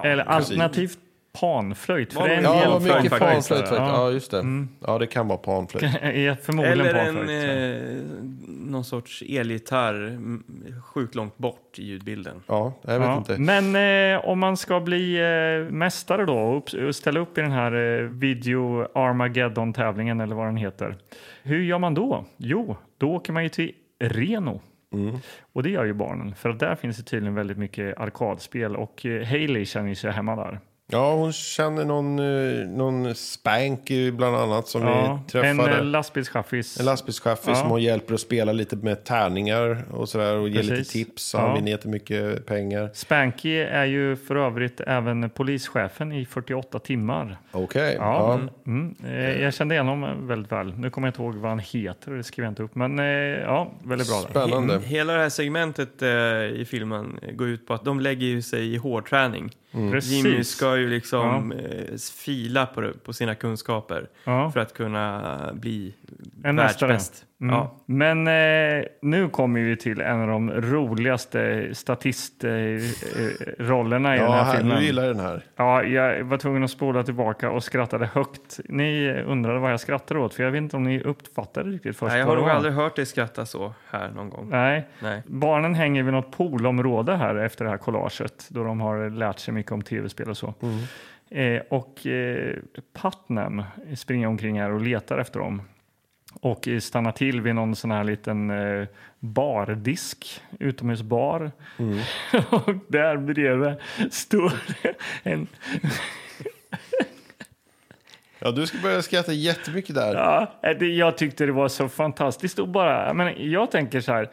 Speaker 3: Eller alternativt panflöjt. För
Speaker 2: Var-
Speaker 3: det är en
Speaker 2: Ja,
Speaker 1: Ja,
Speaker 2: det
Speaker 1: det
Speaker 2: var
Speaker 1: var
Speaker 3: hjälp-
Speaker 1: mycket
Speaker 2: panflöjt
Speaker 1: panflöjt faktiskt.
Speaker 3: Ja. Mm.
Speaker 1: Ja, just det. Ja, det kan vara panflöjt.
Speaker 3: är förmodligen
Speaker 2: Eller en,
Speaker 3: panflöjt. ja.
Speaker 2: eh, någon sorts elgitarr mm, sjukt långt bort i ljudbilden.
Speaker 1: Ja, jag vet
Speaker 3: Ja,
Speaker 1: inte.
Speaker 3: Men eh, om man ska bli eh, mästare då och, upp, och ställa upp i den här eh, Video Armageddon-tävlingen eller vad den heter. Hur gör man då? Jo, då åker man ju till Reno.
Speaker 1: Mm.
Speaker 3: Och det gör ju barnen, för att där finns det tydligen väldigt mycket arkadspel och eh, Hailey känner ju sig hemma där.
Speaker 1: Ja, hon känner någon, eh, någon spank eh, bland annat som
Speaker 3: Ja,
Speaker 1: vi
Speaker 3: en
Speaker 1: träffade.
Speaker 3: eh,
Speaker 1: En,
Speaker 3: lastbilschaffis.
Speaker 1: lastbilschaffis
Speaker 3: Ja.
Speaker 1: som hon hjälper att spela lite med tärningar och sådär och ger lite
Speaker 3: Precis.
Speaker 1: tips. Han
Speaker 3: Ja.
Speaker 1: vinner jättemycket pengar.
Speaker 3: Spanky är ju för övrigt även polischefen i 48 timmar.
Speaker 1: Okej.
Speaker 3: Ja,
Speaker 1: Ja.
Speaker 3: mm. Eh, Jag kände igen honom väldigt väl. Nu kommer jag inte ihåg vad han heter, det skrev jag inte upp. Men eh, ja, väldigt bra. Där.
Speaker 1: Spännande.
Speaker 2: Hela det här segmentet eh, i filmen går ut på att de lägger ju sig i hårdträning. Jimmy
Speaker 3: Precis.
Speaker 2: ska ju liksom eh, fila på, det- på sina kunskaper
Speaker 3: Ja.
Speaker 2: för att kunna bli
Speaker 3: En mästare.
Speaker 2: världsbäst.
Speaker 3: Mm.
Speaker 2: Ja.
Speaker 3: Men eh, nu kommer vi till en av de roligaste statistrollerna i
Speaker 1: Ja,
Speaker 3: den här
Speaker 1: här,
Speaker 3: filmen.
Speaker 1: du gillar den här.
Speaker 3: Ja, jag var tvungen att spola tillbaka och skrattade högt. Ni eh, undrade vad jag skrattade åt, för jag vet inte om ni uppfattade riktigt först.
Speaker 2: Nej, jag
Speaker 3: vad
Speaker 2: har
Speaker 3: det
Speaker 2: nog
Speaker 3: var.
Speaker 2: aldrig hört dig skratta så här någon gång.
Speaker 3: Nej.
Speaker 2: Nej.
Speaker 3: Barnen hänger vid något poolområde här efter det här collaget då de har lärt sig mycket om tv-spel och så. Eh, och eh, Putnam springer omkring här och letar efter dem och eh, stannar till vid någon sån här liten eh, bardisk, utomhusbar. och där bredvid står en
Speaker 1: Ja, du ska börja skratta jättemycket där.
Speaker 3: Ja, eh, det, jag tyckte det var så fantastiskt. Och bara, jag, menar, jag tänker så här,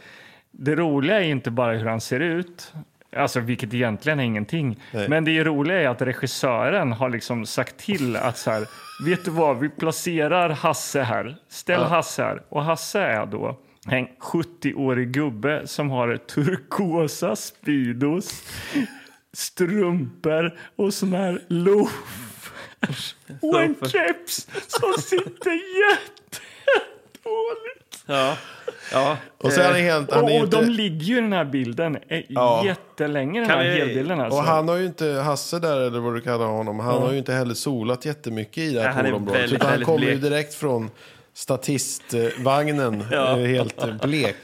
Speaker 3: det roliga är inte bara hur han ser ut, alltså vilket egentligen är ingenting. Men det roliga är att regissören har liksom sagt till att så här, vet du vad, vi placerar Hasse här, ställ Hasse här. Och Hasse är då en 70-årig gubbe som har turkosa Speedos, strumpor och sån här loafers och en
Speaker 2: Loafers.
Speaker 3: keps som sitter jättedåligt.
Speaker 2: Ja. Ja.
Speaker 1: Och så är han helt... Han är
Speaker 3: Eh, Och,
Speaker 1: ju
Speaker 3: och de
Speaker 1: inte,
Speaker 3: ligger ju i den här bilden eh,
Speaker 1: Ja.
Speaker 3: jättelänge, den
Speaker 2: Kan
Speaker 3: här
Speaker 2: vi-
Speaker 3: helbilden alltså.
Speaker 1: och han har ju inte, Hasse där eller vad du kallar honom, han har ju inte heller solat jättemycket i det
Speaker 2: Nej, han
Speaker 1: här
Speaker 2: är
Speaker 1: poolområdet.
Speaker 2: väldigt,
Speaker 1: Utan han
Speaker 2: väldigt
Speaker 1: kommer ju
Speaker 2: blek.
Speaker 1: direkt från statistvagnen,
Speaker 2: Ja.
Speaker 1: helt eh, blek.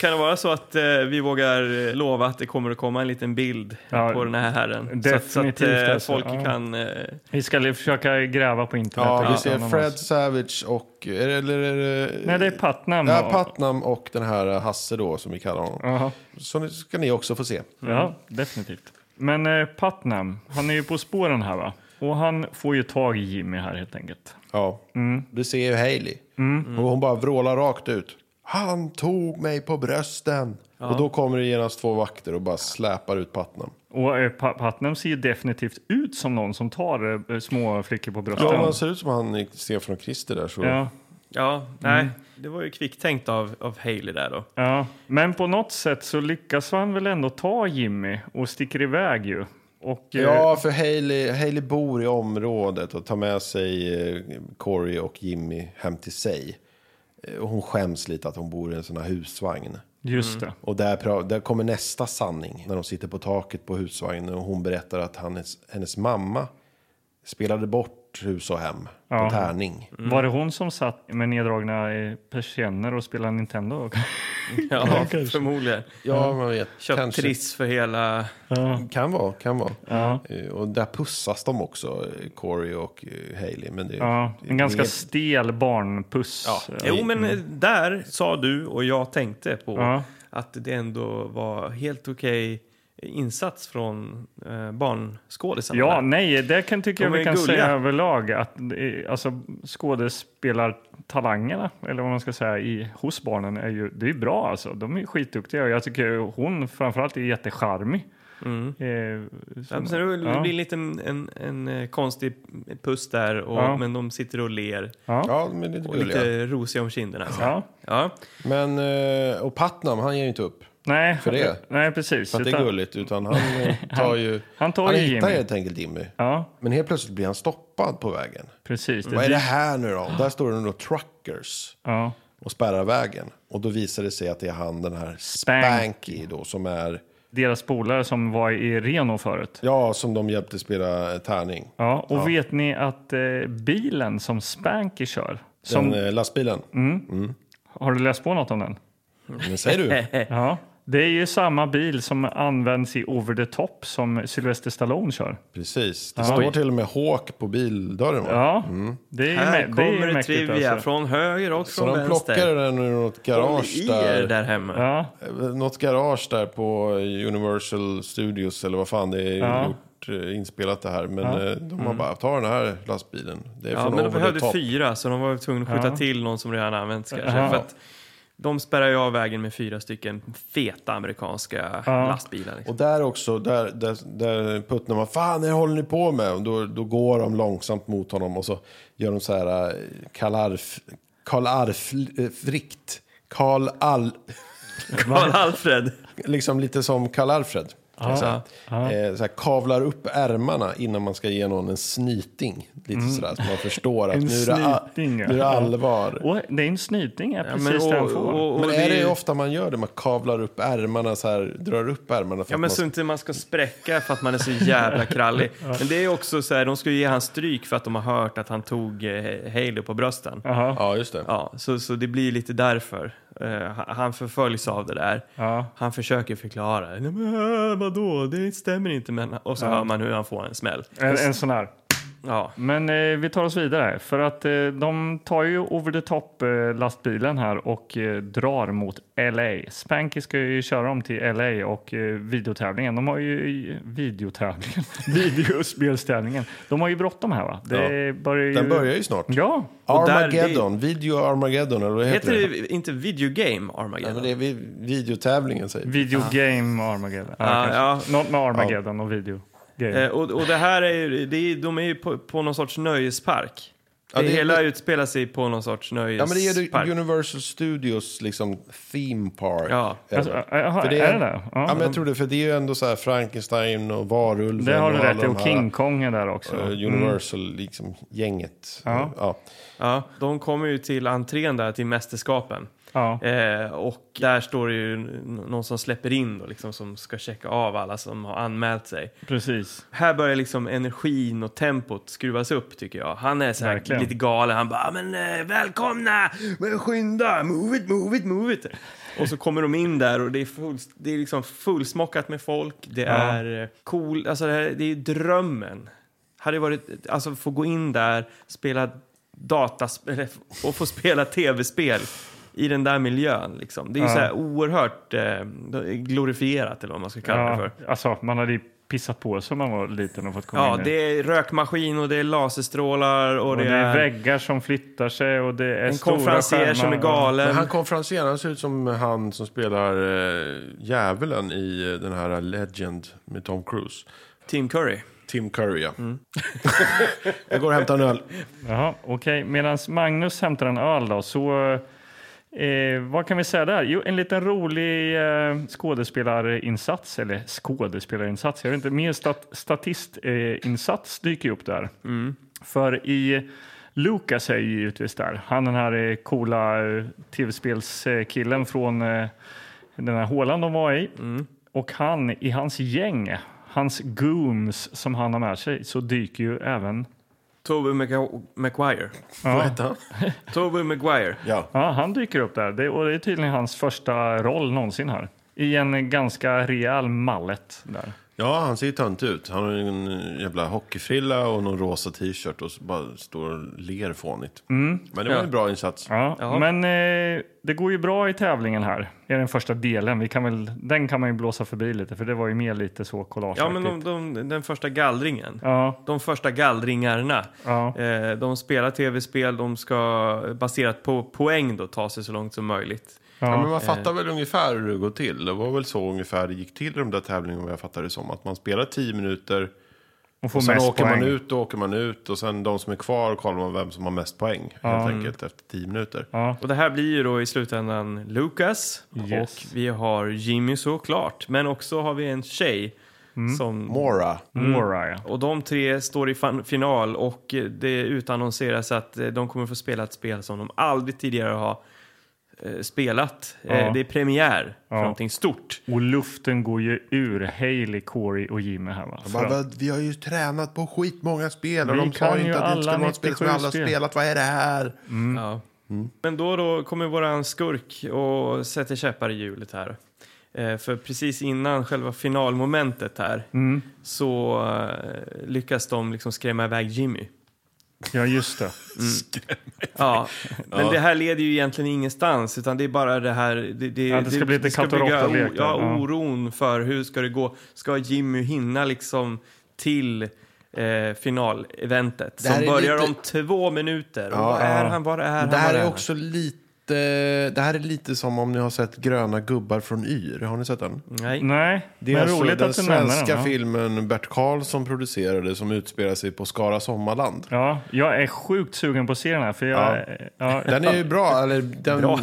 Speaker 2: Kan det vara så att eh, vi vågar eh, lova att det kommer att komma en liten bild
Speaker 3: Ja,
Speaker 2: på den här herren? så att, så
Speaker 3: definitivt,
Speaker 2: att eh,
Speaker 3: alltså.
Speaker 2: folk
Speaker 3: Ja.
Speaker 2: kan... Eh,
Speaker 3: Vi ska li- försöka gräva på internet.
Speaker 1: Ja,
Speaker 3: och
Speaker 1: vi
Speaker 3: hitta
Speaker 1: ser
Speaker 3: någon av
Speaker 1: Fred
Speaker 3: oss.
Speaker 1: Savage och... Eller, eller, eller,
Speaker 3: Nej, det är Putnam.
Speaker 1: Ja,
Speaker 3: och-
Speaker 1: Putnam och den här eh, Hasse då, som vi kallar honom.
Speaker 3: Jaha.
Speaker 1: Så nu ska ni också få se.
Speaker 3: Ja, definitivt. Men eh, Putnam, han är ju på spåren här va? Och han får ju tag i Jimmy här helt enkelt.
Speaker 1: Ja.
Speaker 3: Mm.
Speaker 1: Du ser ju Hailey. Och hon bara vrålar rakt ut. Han tog mig på brösten. Och då kommer det genast två vakter och bara släpar ut Putnam.
Speaker 3: Och eh, Pa- Putnam ser ju definitivt ut som någon som tar eh, små flickor på brösten.
Speaker 1: Ja, om han ser ut som han ser från Christer där så...
Speaker 3: ja,
Speaker 2: ja, nej.
Speaker 3: Mm.
Speaker 2: Det var ju kvicktänkt av, av Haley där då.
Speaker 3: ja. Men på något sätt så lyckas han väl ändå ta Jimmy och sticker iväg ju. Och, eh,
Speaker 1: Ja, för Hailey, Hailey bor i området och tar med sig eh, Corey och Jimmy hem till sig. Eh, Och hon skäms lite att hon bor i en sån här husvagn.
Speaker 3: Just det.
Speaker 1: Och där, pra- där kommer nästa sanning när de sitter på taket på husvagnen och hon berättar att hennes, hennes mamma spelade bort hus och hem
Speaker 3: Ja.
Speaker 1: på tärning.
Speaker 3: Var det hon som satt med neddragna eh, persienner och spelade Nintendo?
Speaker 2: Ja, förmodligen.
Speaker 1: Ja, man vet.
Speaker 2: Köpt
Speaker 1: Kanske.
Speaker 2: triss för hela...
Speaker 1: Kan vara, kan vara. Eh, Och där pussas de också, eh, Corey och eh, Hailey. Men det,
Speaker 3: Ja,
Speaker 1: det-
Speaker 3: en ganska
Speaker 1: det-
Speaker 3: stel barnpuss. Eh,
Speaker 2: Jo, men eh, där sa du och jag tänkte på
Speaker 3: Ja.
Speaker 2: att det ändå var helt okej insats från eh, barnskådisarna.
Speaker 3: Ja,
Speaker 2: där.
Speaker 3: nej, det kan
Speaker 2: De
Speaker 3: tycker jag vi
Speaker 2: är
Speaker 3: kan
Speaker 2: gulliga.
Speaker 3: säga överlag att eh, alltså, skådespelartalangerna, eller vad man ska säga, i, hos barnen är ju det är ju bra alltså. De är skitduktiga och jag tycker hon framförallt är jättecharmig.
Speaker 1: Mm.
Speaker 3: Eh,
Speaker 2: Ja,
Speaker 3: som-
Speaker 2: men sen det
Speaker 3: ja.
Speaker 2: blir lite en, en, en eh, konstig puss där, och,
Speaker 3: Ja.
Speaker 2: men de sitter och ler
Speaker 1: Ja, men det är
Speaker 2: och
Speaker 1: gulliga.
Speaker 2: lite rosiga om kinderna. Så.
Speaker 3: Ja.
Speaker 2: Ja.
Speaker 1: Men, eh, och Putnam, han ger ju inte upp.
Speaker 3: Nej,
Speaker 1: För det.
Speaker 3: nej, precis.
Speaker 1: För att det är
Speaker 3: Utan-
Speaker 1: gulligt. Utan han eh, tar ju...
Speaker 3: han tar
Speaker 1: han
Speaker 3: ju
Speaker 1: hittar
Speaker 3: Jimmy.
Speaker 1: helt enkelt Jimmy.
Speaker 3: Ja,
Speaker 1: Men helt plötsligt blir han stoppad på vägen.
Speaker 3: precis. Det,
Speaker 1: Vad är det här nu då? Där står det då truckers
Speaker 3: Ja.
Speaker 1: och spärrar vägen. Och då visar det sig att det är han, den här
Speaker 3: Spanky.
Speaker 1: Spanky då, som är...
Speaker 3: Deras polare som var i Reno förut.
Speaker 1: Ja, som de hjälpte spela eh, tärning.
Speaker 3: Ja, och vet ni att eh, bilen som Spanky kör, som, Mm.
Speaker 1: Den eh, lastbilen.
Speaker 3: har du läst på något om den?
Speaker 1: Men säger du?
Speaker 3: Ja, det är ju samma bil som används i Over the Top som Sylvester Stallone kör.
Speaker 1: Precis. Det står till och med Hawk på bildörren. Va?
Speaker 3: Ja, det är ju
Speaker 2: Här
Speaker 3: mä- det är ju
Speaker 2: kommer det
Speaker 3: mäktigt.
Speaker 2: trivia
Speaker 3: Alltså.
Speaker 2: från höger och
Speaker 1: Så
Speaker 2: från
Speaker 1: de
Speaker 2: vänster.
Speaker 1: plockade den ur något
Speaker 2: Håll
Speaker 1: garage
Speaker 2: i
Speaker 1: där.
Speaker 2: er där hemma.
Speaker 3: Ja,
Speaker 1: Eh, Något garage där på Universal Studios eller vad fan det är
Speaker 3: Ja.
Speaker 1: gjort, eh, inspelat det här. Men eh, de har bara, ta den här lastbilen. Det är
Speaker 2: Ja,
Speaker 1: från
Speaker 2: men de
Speaker 1: over the
Speaker 2: behövde
Speaker 1: top.
Speaker 2: fyra, så de var tvungna att skjuta till någon som redan använts kanske.
Speaker 3: Ja.
Speaker 2: För att de spärrar ju av vägen med fyra stycken feta amerikanska lastbilar. Liksom.
Speaker 1: Och där också, där, där, där Putnam bara, fan det håller ni på med? Och då, då går de långsamt mot honom och så gör de så här eh, Karl Arf, Karl Arf, eh, Frikt. Karl Al,
Speaker 2: Karl Alfred.
Speaker 1: liksom lite som Karl Alfred. kan jag säga. Eh, Så här, kavlar upp ärmarna innan man ska ge någon en snyting. Lite sådär, så man förstår att
Speaker 3: En
Speaker 1: nu är, det a-
Speaker 3: snyting,
Speaker 1: nu
Speaker 3: ja.
Speaker 1: är det allvar.
Speaker 3: och det är en snyting, är
Speaker 2: Ja,
Speaker 3: precis
Speaker 2: men,
Speaker 3: det
Speaker 2: och,
Speaker 3: han får.
Speaker 2: och, och,
Speaker 1: Men är det
Speaker 2: ju-
Speaker 1: ofta man gör det? Man kavlar upp ärmarna så här, drar upp ärmarna. För
Speaker 2: Ja,
Speaker 1: att
Speaker 2: men
Speaker 1: man
Speaker 2: så
Speaker 1: ska...
Speaker 2: inte man ska spräcka för att man är så jävla krallig. Men det är ju också så här, de ska ju ge han stryk för att de har hört att han tog eh, Halo på brösten.
Speaker 3: Jaha.
Speaker 1: Ja, just det.
Speaker 2: Ja, så, så det blir ju lite därför. Eh, han- han förföljs av det där.
Speaker 3: Ja.
Speaker 2: Han försöker förklara. Nej, men, äh, vadå, det stämmer inte. Men... Och så hör man hur han får en smäll.
Speaker 3: En, en sån här.
Speaker 2: Ja.
Speaker 3: Men eh, vi tar oss vidare. För att eh, de tar ju over the top eh, lastbilen här och eh, drar mot LA. Spanky ska ju köra dem till LA och eh, videotävlingen. De har ju i- videotävlingen, videospelstävlingen. De har ju bråttom här va? Det börjar ju...
Speaker 1: Den börjar ju snart.
Speaker 3: Ja,
Speaker 2: där-
Speaker 1: Armageddon, video Armageddon eller vad heter det?
Speaker 2: Heter det inte videogame
Speaker 1: Ja,
Speaker 2: Armageddon?
Speaker 1: men det är vi- videotävlingen säger vi.
Speaker 3: Video game Armageddon. Ja,
Speaker 2: Ah,
Speaker 3: kanske.
Speaker 2: ja.
Speaker 3: Något med Armageddon och video. Game.
Speaker 2: Eh, och, och det här är ju, det är, de är ju på, på någon sorts nöjespark. Det,
Speaker 1: det-
Speaker 2: hela utspelar sig på någon sorts
Speaker 1: Ja, men det är
Speaker 2: nöjespark.
Speaker 1: ju Universal Studios liksom theme park.
Speaker 2: Ja.
Speaker 1: Eller-
Speaker 3: Alltså, jaha, är det det?
Speaker 1: Ja,
Speaker 3: Ja,
Speaker 1: men jag tror det, för det är ju ändå så här Frankenstein och Varulven.
Speaker 3: Det har du
Speaker 1: och alla
Speaker 3: rätt i.
Speaker 1: de
Speaker 3: Och
Speaker 1: här,
Speaker 3: King Kong är där också. Mm.
Speaker 1: eh, Universal, liksom gänget.
Speaker 3: Ja.
Speaker 1: Ja.
Speaker 2: ja, de kommer ju till entrén där, till mästerskapen.
Speaker 3: Ja.
Speaker 2: Eh, och där står det ju n- någon som släpper in då, liksom, som ska checka av alla som har anmält sig.
Speaker 3: Precis.
Speaker 2: Här börjar liksom energin och tempot skruvas upp tycker jag. Han är så här
Speaker 3: Verkligen.
Speaker 2: lite galen. Han bara men eh, välkomna, men skynda, move it, move it, move it. Och så kommer de in där och det är, full, det är liksom fullsmockat med folk. Det är eh, cool, alltså det, här, det är drömmen. Hade det varit, alltså få gå in där, spela dataspel och få spela tv-spel i den där miljön liksom. Det är ju så här oerhört eh, glorifierat eller vad man ska kalla det för.
Speaker 3: Ja, alltså, man hade ju pissat på sig om man var liten och fått komma
Speaker 2: Ja,
Speaker 3: in i.
Speaker 2: det är rökmaskin och det är laserstrålar och,
Speaker 3: Och det är väggar som flyttar sig och det är
Speaker 2: en
Speaker 3: stora
Speaker 2: konferencier som är
Speaker 3: skärmar.
Speaker 1: Men
Speaker 2: galen.
Speaker 1: han konferenserade, han ser ut som han som spelar eh, djävulen i eh, den här Legend med Tom Cruise.
Speaker 2: Tim Curry.
Speaker 1: Tim Curry, ja.
Speaker 3: Mm.
Speaker 1: jag går och hämtar en öl.
Speaker 3: Jaha, okej. Medan Magnus hämtar en öl då, så eh, vad kan vi säga där? Jo, en liten rolig eh, skådespelarinsats, eller skådespelarinsats, jag vet inte, mer stat- statistinsats eh, insats dyker ju upp där. För i Lucas är ju givetvis där, han den här eh, coola eh, tv-spelskillen från eh, den här hålan de var i. Och han, i hans gäng, hans goons som han har med sig, så dyker ju även
Speaker 2: Tobey Maca- Maguire.
Speaker 1: Vad hette han?
Speaker 2: Tobey Maguire.
Speaker 1: Ja.
Speaker 3: Ja, han dyker upp där. Det, och det är tydligen hans första roll någonsin här. I en ganska rejäl mallet där.
Speaker 1: ja, han ser ju tönt ut. Han har ju en eh, jävla hockeyfrilla och någon rosa t-shirt och så bara står och ler fånigt. Men det var
Speaker 2: Ja.
Speaker 1: en bra insats.
Speaker 3: Mm. Ja, men eh, det går ju bra i tävlingen här. I den första delen. Vi kan väl, den kan man ju blåsa förbi lite för det var ju mer lite så
Speaker 2: Ja,
Speaker 3: collageaktigt.
Speaker 2: men de, de, den första gallringen.
Speaker 3: ja,
Speaker 2: De första gallringarna.
Speaker 3: ja,
Speaker 2: Eh, de spelar tv-spel, de ska baserat på poäng då ta sig så långt som möjligt.
Speaker 1: Ja, men
Speaker 3: ja. eh.
Speaker 1: man fattar väl ungefär hur det går till. Det var väl så ungefär det gick till i de där tävlingarna vad jag fattade det som. Att man spelar 10 minuter,
Speaker 3: Och får
Speaker 1: och sen
Speaker 3: mest
Speaker 1: åker
Speaker 3: poäng.
Speaker 1: man ut och åker man ut och sen de som är kvar kollar man vem som har mest poäng helt enkelt efter 10 minuter.
Speaker 2: Och det här blir ju då i slutändan Lucas
Speaker 3: Yes.
Speaker 2: och vi har Jimmy såklart. Men också har vi en tjej
Speaker 3: Mm.
Speaker 2: som
Speaker 1: Mora.
Speaker 3: Mora, ja.
Speaker 2: Och de tre står i fan- final och eh, det utannonseras att eh, de kommer få spela ett spel som de aldrig tidigare har eh, spelat. Eh, Det är premiär för någonting stort.
Speaker 3: Och luften går ju ur Hailey, Corey och Jimmy här va? För
Speaker 1: Bara,
Speaker 3: att,
Speaker 1: "Vad, vi har ju tränat på skitmånga spel och
Speaker 3: Vi
Speaker 1: de sa
Speaker 3: kan
Speaker 1: ju
Speaker 3: ju
Speaker 1: inte att det
Speaker 3: alla
Speaker 1: skulle vara ett spel som vi
Speaker 3: 97
Speaker 1: alla
Speaker 3: spel." Mm.
Speaker 1: spelat. Vad är det här?
Speaker 2: Ja. Men då, då kommer våran skurk och sätter käppar i hjulet här. Eh, För precis innan själva finalmomentet här så eh, lyckas de liksom skrämma iväg Jimmy.
Speaker 3: ja, just det.
Speaker 2: Ja, men det här leder ju egentligen ingenstans utan det är bara det här... Det, det,
Speaker 3: Ja, det ska bli lite
Speaker 2: ska
Speaker 3: katt och
Speaker 2: bygga
Speaker 3: råttorlek
Speaker 2: o-
Speaker 3: där,
Speaker 2: ja,
Speaker 3: ja.
Speaker 2: oron för hur ska det gå? Ska Jimmy hinna liksom till eh, finaleventet
Speaker 1: här
Speaker 2: som
Speaker 1: är
Speaker 2: börjar
Speaker 1: lite-
Speaker 2: om två minuter? och vad är han? Vad är han?
Speaker 1: Det här
Speaker 2: vad
Speaker 1: är
Speaker 2: han?
Speaker 1: också lite... Det här är lite som om ni har sett Gröna gubbar från Yr. Har ni sett den?
Speaker 2: Nej.
Speaker 3: Nej,
Speaker 1: Det är
Speaker 3: men
Speaker 1: alltså
Speaker 3: roligt
Speaker 1: den
Speaker 3: att du nämner
Speaker 1: svenska
Speaker 3: den. ja.
Speaker 1: filmen Bert Karlsson producerade som utspelar sig på Skara Sommarland.
Speaker 3: Ja, jag är sjukt sugen på att se den här för jag...
Speaker 1: Ja.
Speaker 3: Ja.
Speaker 1: Den är ju bra, eller den,
Speaker 2: Bra.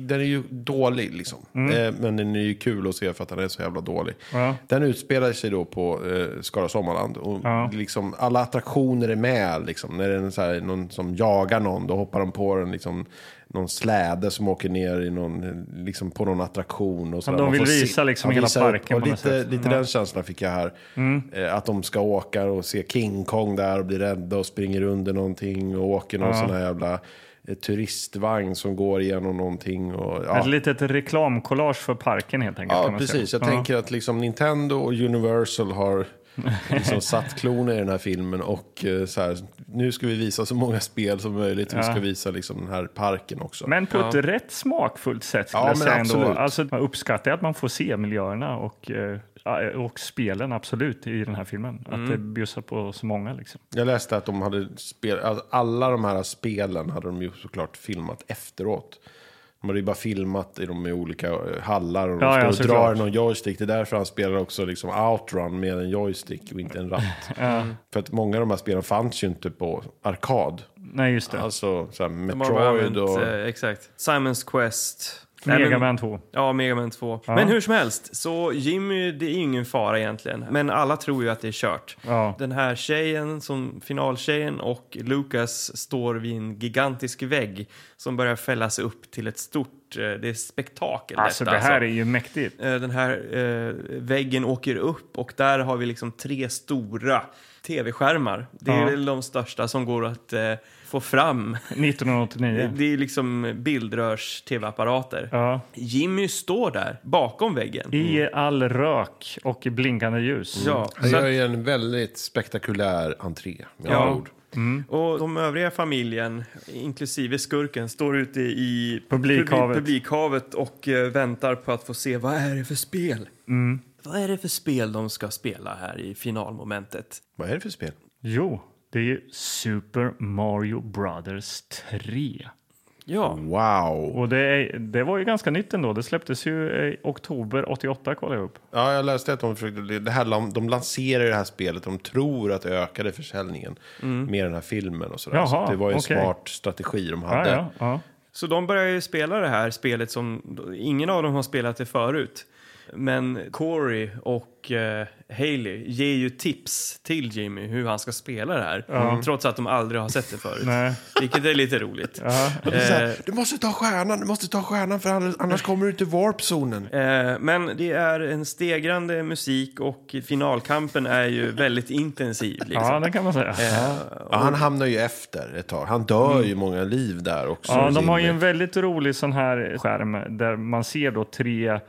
Speaker 1: den är ju dålig liksom. Eh, Men den är ju kul att se för att den är så jävla dålig.
Speaker 3: Mm. Ja.
Speaker 1: Den utspelar sig då på eh, Skara Sommarland. Och
Speaker 3: Ja.
Speaker 1: liksom, alla attraktioner är med liksom. När det är en så här, någon som jagar någon, då hoppar de på den liksom. Någon släde som åker ner i någon, liksom på någon attraktion. Och så
Speaker 3: Ja,
Speaker 1: där.
Speaker 3: de
Speaker 1: Man
Speaker 3: vill
Speaker 1: får se-
Speaker 3: visa liksom
Speaker 1: man
Speaker 3: hela
Speaker 1: visar upp.
Speaker 3: parken
Speaker 1: Och
Speaker 3: på något
Speaker 1: Lite,
Speaker 3: sätt.
Speaker 1: lite den känslan fick jag här.
Speaker 3: Mm.
Speaker 1: Eh, Att de ska åka och se King Kong där och bli rädda och springer under någonting och åker någon sån här jävla eh, turistvagn som går igenom någonting. Och, ja.
Speaker 3: Ett litet reklamkollage för parken helt enkelt. kan
Speaker 1: Ja,
Speaker 3: man
Speaker 1: precis.
Speaker 3: säga.
Speaker 1: Jag tänker att liksom Nintendo och Universal har liksom satt klorna i den här filmen. Och eh, så här, nu ska vi visa så många spel som möjligt. Vi ska visa liksom den här parken också.
Speaker 3: Men på ett rätt smakfullt sätt skulle
Speaker 1: Ja,
Speaker 3: jag
Speaker 1: men
Speaker 3: säga ändå.
Speaker 1: absolut.
Speaker 3: Alltså, man uppskattar att man får se miljöerna och, eh, ja, och spelen absolut i den här filmen.
Speaker 1: Mm.
Speaker 3: Att det bjussar på så många liksom.
Speaker 1: Jag läste att de hade spel, alltså alla de här spelen hade de ju såklart filmat efteråt. Men det är bara filmat i de i olika eh, hallar och de
Speaker 3: Ja,
Speaker 1: står
Speaker 3: ja,
Speaker 1: och
Speaker 3: såklart.
Speaker 1: drar någon joystick. Det är därför han spelar också liksom outrun med en joystick och inte en ratt. För att många av de här spelen fanns ju inte på arkad.
Speaker 3: Nej, just det.
Speaker 1: Alltså så här,
Speaker 2: De har bara
Speaker 1: Metroid
Speaker 2: använt,
Speaker 1: och...
Speaker 2: eh, exakt. Simons Quest. Nej, men-
Speaker 3: Mega Man 2.
Speaker 2: Ja, Mega Man 2. Men hur som helst, så Jimmy, det är ju ingen fara egentligen. Men alla tror ju att det är kört.
Speaker 3: Ja.
Speaker 2: Den här tjejen, som finaltjejen och Lucas står vid en gigantisk vägg som börjar fällas upp till ett stort, eh, det är spektakel
Speaker 3: Alltså
Speaker 2: detta,
Speaker 3: det här är ju mäktigt.
Speaker 2: Eh, den här eh, väggen åker upp och där har vi liksom tre stora tv-skärmar. Det är
Speaker 3: Ja.
Speaker 2: väl de största som går att eh, få fram. Det,
Speaker 3: 1989.
Speaker 2: det är liksom bildrörs-tv-apparater.
Speaker 3: Ja.
Speaker 2: Jimmy står där bakom väggen.
Speaker 1: Mm.
Speaker 3: I all rök och blinkande ljus.
Speaker 2: Ja,
Speaker 1: Han
Speaker 2: så
Speaker 1: gör
Speaker 2: att,
Speaker 1: ju en väldigt spektakulär entré, med
Speaker 2: Ja.
Speaker 1: andra ord.
Speaker 2: och de övriga familjen, inklusive skurken, står ute i
Speaker 3: Publikhavet.
Speaker 2: publikhavet och eh, väntar på att få se vad är det för spel. Vad är det för spel de ska spela här i finalmomentet?
Speaker 1: Vad är det för spel?
Speaker 3: Jo, det är ju Super Mario Brothers 3.
Speaker 2: Ja,
Speaker 1: Wow!
Speaker 3: Och det, är, det var ju ganska nytt ändå. Det släpptes ju i oktober 88 kollade jag upp.
Speaker 1: Ja, jag läste att de försökte... Det här, lan- de lanserar det här spelet. De tror att det ökade försäljningen med den här filmen och sådär.
Speaker 3: Mm. Jaha,
Speaker 1: så att det var ju en
Speaker 3: okej.
Speaker 1: smart strategi de
Speaker 3: Ja,
Speaker 1: hade.
Speaker 3: ja, ja.
Speaker 2: så de börjar ju spela det här spelet som ingen av dem har spelat det förut. Men Corey och eh, Haley ger ju tips till Jimmy hur han ska spela det här. Trots att de aldrig har sett det förut.
Speaker 3: Nej.
Speaker 2: Vilket är lite roligt.
Speaker 1: Och det är så
Speaker 3: Eh.
Speaker 1: här, du måste ta stjärnan, du måste ta stjärnan för annars- annars kommer du till warpzonen.
Speaker 2: Eh, Men det är en stegrande musik och finalkampen är ju väldigt intensiv.
Speaker 3: ja,
Speaker 2: Liksom.
Speaker 3: det kan man säga.
Speaker 1: Ja, han hamnar ju efter ett tag. Han dör ju många liv där också.
Speaker 3: Mm. Ja, de har ju en väldigt rolig sån här skärm där man ser då tre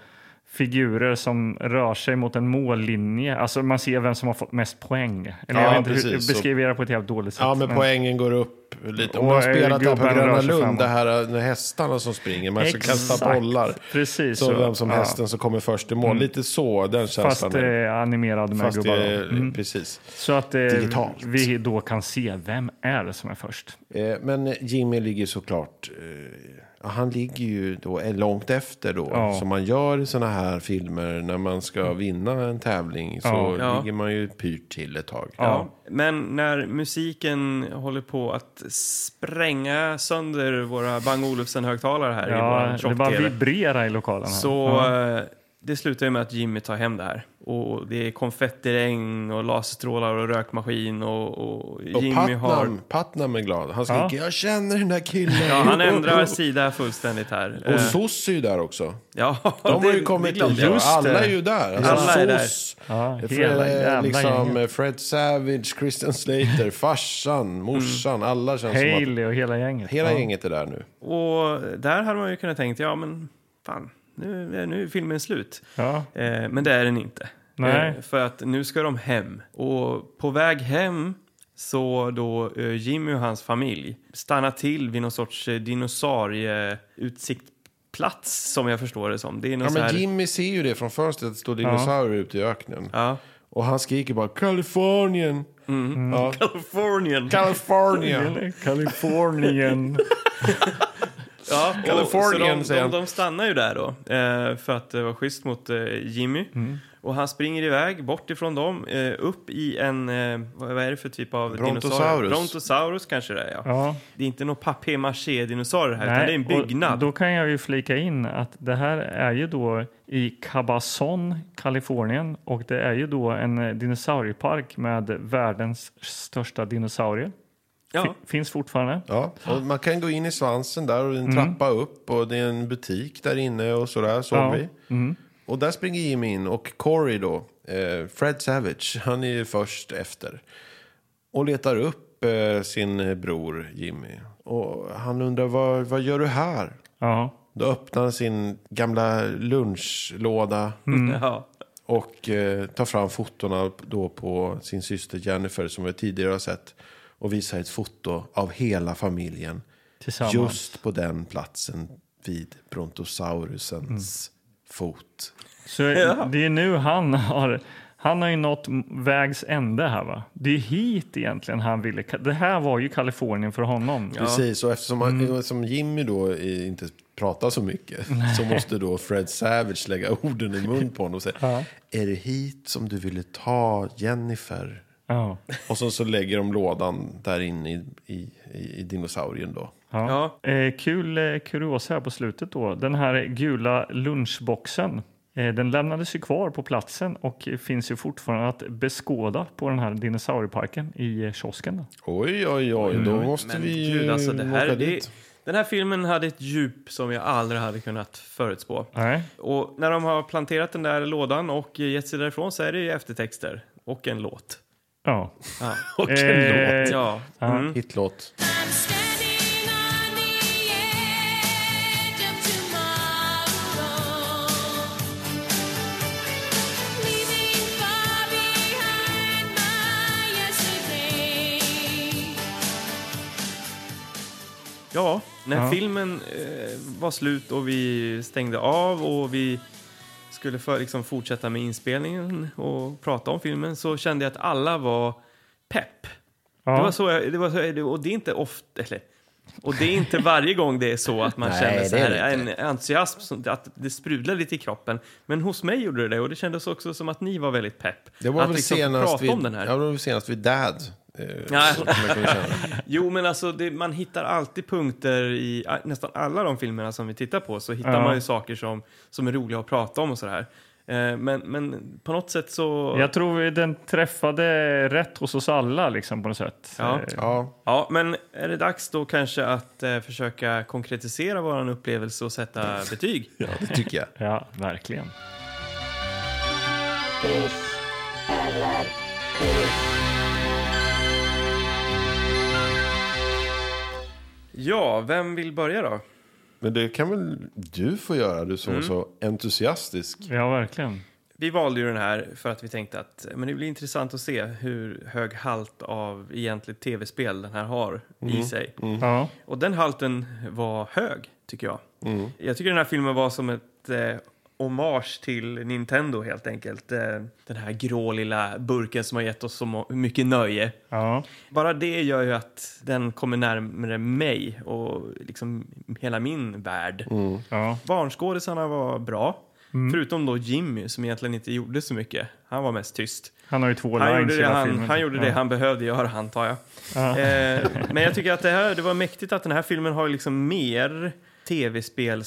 Speaker 3: figurer som rör sig mot en mållinje. Alltså man ser vem som har fått mest poäng. Eller
Speaker 1: Ja,
Speaker 3: jag vet inte hur,
Speaker 1: precis.
Speaker 3: beskriver det på ett jävligt dåligt sätt.
Speaker 1: Ja, men
Speaker 3: men-
Speaker 1: poängen går upp lite. Om
Speaker 3: Och,
Speaker 1: de har spelat det här på
Speaker 3: gubben rör
Speaker 1: Gröna
Speaker 3: sig
Speaker 1: Lund,
Speaker 3: framåt.
Speaker 1: det här när hästarna som springer, man ska kasta
Speaker 3: Exakt.
Speaker 1: bollar.
Speaker 3: Precis
Speaker 1: Så
Speaker 3: så.
Speaker 1: vem som
Speaker 3: Ja. Mm.
Speaker 1: hästen som kommer först i mål. Lite så, den känslan.
Speaker 3: Fast
Speaker 1: är det.
Speaker 3: eh, animerad med
Speaker 1: Fast det
Speaker 3: gubbar.
Speaker 1: är,
Speaker 3: då. Mm.
Speaker 1: precis.
Speaker 3: Så att eh,
Speaker 1: digitalt.
Speaker 3: vi då kan se vem är det som är först.
Speaker 1: Eh, Men Jimmy ligger såklart, eh, ja, han ligger ju då eh, långt efter då.
Speaker 3: Ja. Mm.
Speaker 1: Som man gör i sådana här filmer när man ska vinna en tävling. Så
Speaker 3: Ja.
Speaker 2: Ja.
Speaker 1: ligger man ju pyrt till ett tag.
Speaker 2: Ja. Men när musiken håller på att spränga sönder våra Bang Olufsen-högtalare här i
Speaker 3: Ja,
Speaker 2: våran
Speaker 3: det bara
Speaker 2: tjock-tv.
Speaker 3: vibrerar i lokalen. Här.
Speaker 2: Så
Speaker 3: ja.
Speaker 2: eh, det slutar ju med att Jimmy tar hem det här. Och det är konfettiregn och laserstrålar och rökmaskin och, och
Speaker 1: Och
Speaker 2: Jimmy
Speaker 1: Putnam,
Speaker 2: har...
Speaker 1: Putnam är glad. Han skriker jag känner den där killen.
Speaker 2: Ja, han ändrar sida fullständigt här.
Speaker 1: Och
Speaker 2: Eh,
Speaker 1: SOS är ju där också.
Speaker 2: ja,
Speaker 1: De
Speaker 2: det-
Speaker 1: har ju
Speaker 2: det
Speaker 1: kommit
Speaker 2: glömde
Speaker 1: dit.
Speaker 2: jag.
Speaker 1: och Alla är ju där. Alltså,
Speaker 2: Alla är där.
Speaker 1: SOS,
Speaker 3: Ja,
Speaker 1: Fred,
Speaker 3: hela jävla
Speaker 1: liksom,
Speaker 3: gänget.
Speaker 1: Fred Savage, Christian Slater, farsan, morsan.
Speaker 3: Mm.
Speaker 1: Alla känns som
Speaker 3: Haley och hela gänget.
Speaker 1: att hela
Speaker 3: ja.
Speaker 1: gänget är där nu.
Speaker 2: Och där hade man ju kunnat tänkt, ja men fan, nu, nu är filmen slut.
Speaker 3: Ja.
Speaker 2: Eh, men det är den inte.
Speaker 3: Nej.
Speaker 2: Eh, för att nu ska de hem. Och på väg hem så då eh, Jimmy och hans familj stannar till vid någon sorts eh, dinosaurieutsiktsplats som jag förstår det som. Det är någon
Speaker 1: Ja,
Speaker 2: så här,
Speaker 1: men Jimmy ser ju det från fönstret, att det står dinosaurier ute i öknen.
Speaker 2: ja,
Speaker 1: Och han skriker bara Kalifornien. Ja.
Speaker 2: Californian.
Speaker 1: California.
Speaker 3: Eller Kalifornien.
Speaker 2: Ja,
Speaker 1: Californian,
Speaker 2: och, så de,
Speaker 1: säger
Speaker 2: de,
Speaker 1: han.
Speaker 2: de stannar ju där då eh, för att det var schysst mot eh, Jimmy. Och han springer iväg bort ifrån dem, eh, upp i en, eh, vad vad är det för typ av dinosaurie?
Speaker 1: Brontosaurus.
Speaker 2: Brontosaurus kanske det är, ja.
Speaker 3: Ja.
Speaker 2: Det är inte någon papier-maché-dinosaurie här, utan
Speaker 3: Nej,
Speaker 2: det är en
Speaker 3: och
Speaker 2: byggnad.
Speaker 3: Då kan jag ju flika in att det här är ju då i Cabazon, Kalifornien och det är ju då en eh, dinosauriepark med världens största dinosaurier.
Speaker 2: ja.
Speaker 3: Fi- Finns fortfarande.
Speaker 1: Ja, och man kan gå in i svansen där och det är en trappa upp och det är en butik där inne och sådär såg
Speaker 3: Ja.
Speaker 1: vi. Och där springer Jimmy in och Corey då, eh, Fred Savage, han är ju först efter. Och letar upp eh, sin eh, bror Jimmy. Och han undrar vad, vad gör du här?
Speaker 3: Ja.
Speaker 1: Då öppnar han sin gamla lunchlåda
Speaker 2: ja.
Speaker 1: och eh, tar fram fotona då på sin syster Jennifer som vi tidigare har sett och visar ett foto av hela familjen
Speaker 3: Tillsammans.
Speaker 1: just på den platsen vid brontosaurusens fot.
Speaker 3: Så det är nu han har, han har ju nått vägs ände här va? Det är hit egentligen han ville. Det här var ju Kalifornien för honom.
Speaker 1: Precis, och eftersom han, som Jimmy då är- inte prata så mycket så måste då Fred Savage lägga orden i mun på honom och säga Är det hit som du ville ta Jennifer?
Speaker 3: Ja.
Speaker 1: Och så, så lägger de lådan där inne i, i, i, i dinosaurien då.
Speaker 3: Ja. Eh, kul eh, kuriosa här på slutet då. Den här gula lunchboxen. Eh, den lämnades ju kvar på platsen och finns ju fortfarande att beskåda på den här dinosaurieparken i eh, kiosken. Då.
Speaker 1: Oj, oj, oj, då måste
Speaker 2: Men
Speaker 1: vi
Speaker 2: gud, alltså det här,
Speaker 1: åka
Speaker 2: det, den här filmen hade ett djup som jag aldrig hade kunnat förutspå.
Speaker 3: Nej.
Speaker 2: Och när de har planterat den där lådan och gett sig därifrån så är det ju eftertexter och en låt.
Speaker 3: Ja.
Speaker 2: Ja.
Speaker 1: Och en
Speaker 3: Eh,
Speaker 1: låt.
Speaker 2: Ja. Mm.
Speaker 1: Hitlåt.
Speaker 2: ja, när
Speaker 3: Ja.
Speaker 2: filmen eh, var slut och vi stängde av och vi skulle för, liksom, fortsätta med inspelningen och prata om filmen så kände jag att alla var pepp.
Speaker 3: Ja.
Speaker 2: Det var så jag, det var så, jag- och det är inte ofta, eller, och det är inte varje gång det är så att man
Speaker 1: Nej,
Speaker 2: känner så
Speaker 1: det är
Speaker 2: här, en entusiasm, som, att det sprudlar lite i kroppen. Men hos mig gjorde det det och det kändes också som att ni var väldigt pepp.
Speaker 1: Det var
Speaker 2: att
Speaker 1: väl
Speaker 2: liksom
Speaker 1: senast
Speaker 2: prata
Speaker 1: vid,
Speaker 2: om den här.
Speaker 1: Ja, det var väl senast vid Dad. eh,
Speaker 2: Ja.
Speaker 1: som jag kunde känna.
Speaker 2: Jo, men alltså det, man hittar alltid punkter i a- nästan alla de filmerna som vi tittar på så hittar
Speaker 3: Ja.
Speaker 2: man ju saker som, som är roliga att prata om och sådär. Eh, men, men på något sätt så...
Speaker 3: Jag tror vi- den träffade rätt hos oss alla liksom, på något sätt.
Speaker 2: Ja.
Speaker 3: Eh,
Speaker 1: Ja,
Speaker 2: Ja, men är det dags då kanske att eh, försöka konkretisera vår upplevelse och sätta betyg?
Speaker 1: ja, det tycker jag.
Speaker 3: ja verkligen.
Speaker 4: Piss eller piss.
Speaker 2: Ja, vem vill börja då?
Speaker 1: Men det kan väl du få göra, du som var
Speaker 2: Mm.
Speaker 1: så entusiastisk.
Speaker 3: Ja, verkligen.
Speaker 2: Vi valde ju den här för att vi tänkte att eh, men det blir intressant att se hur hög halt av egentligt tv-spel den här har i sig.
Speaker 3: Ja.
Speaker 2: Och den halten var hög, tycker jag. Jag tycker den här filmen var som ett eh, hommage till Nintendo, helt enkelt. Eh, den här grå lilla burken som har gett oss så må- mycket nöje.
Speaker 3: Ja.
Speaker 2: Bara det gör ju att den kommer närmare mig och liksom hela min värld.
Speaker 3: Ja.
Speaker 2: Barnskådisarna var bra. Förutom då Jimmy som egentligen inte gjorde så mycket. Han var mest tyst.
Speaker 3: Han har ju två
Speaker 2: Han
Speaker 3: lines
Speaker 2: gjorde,
Speaker 3: i
Speaker 2: det
Speaker 3: hela
Speaker 2: han,
Speaker 3: filmen.
Speaker 2: han gjorde det
Speaker 3: ja.
Speaker 2: han behövde göra, antar jag. Eh, men jag tycker att det, här, det var mäktigt att den här filmen har liksom mer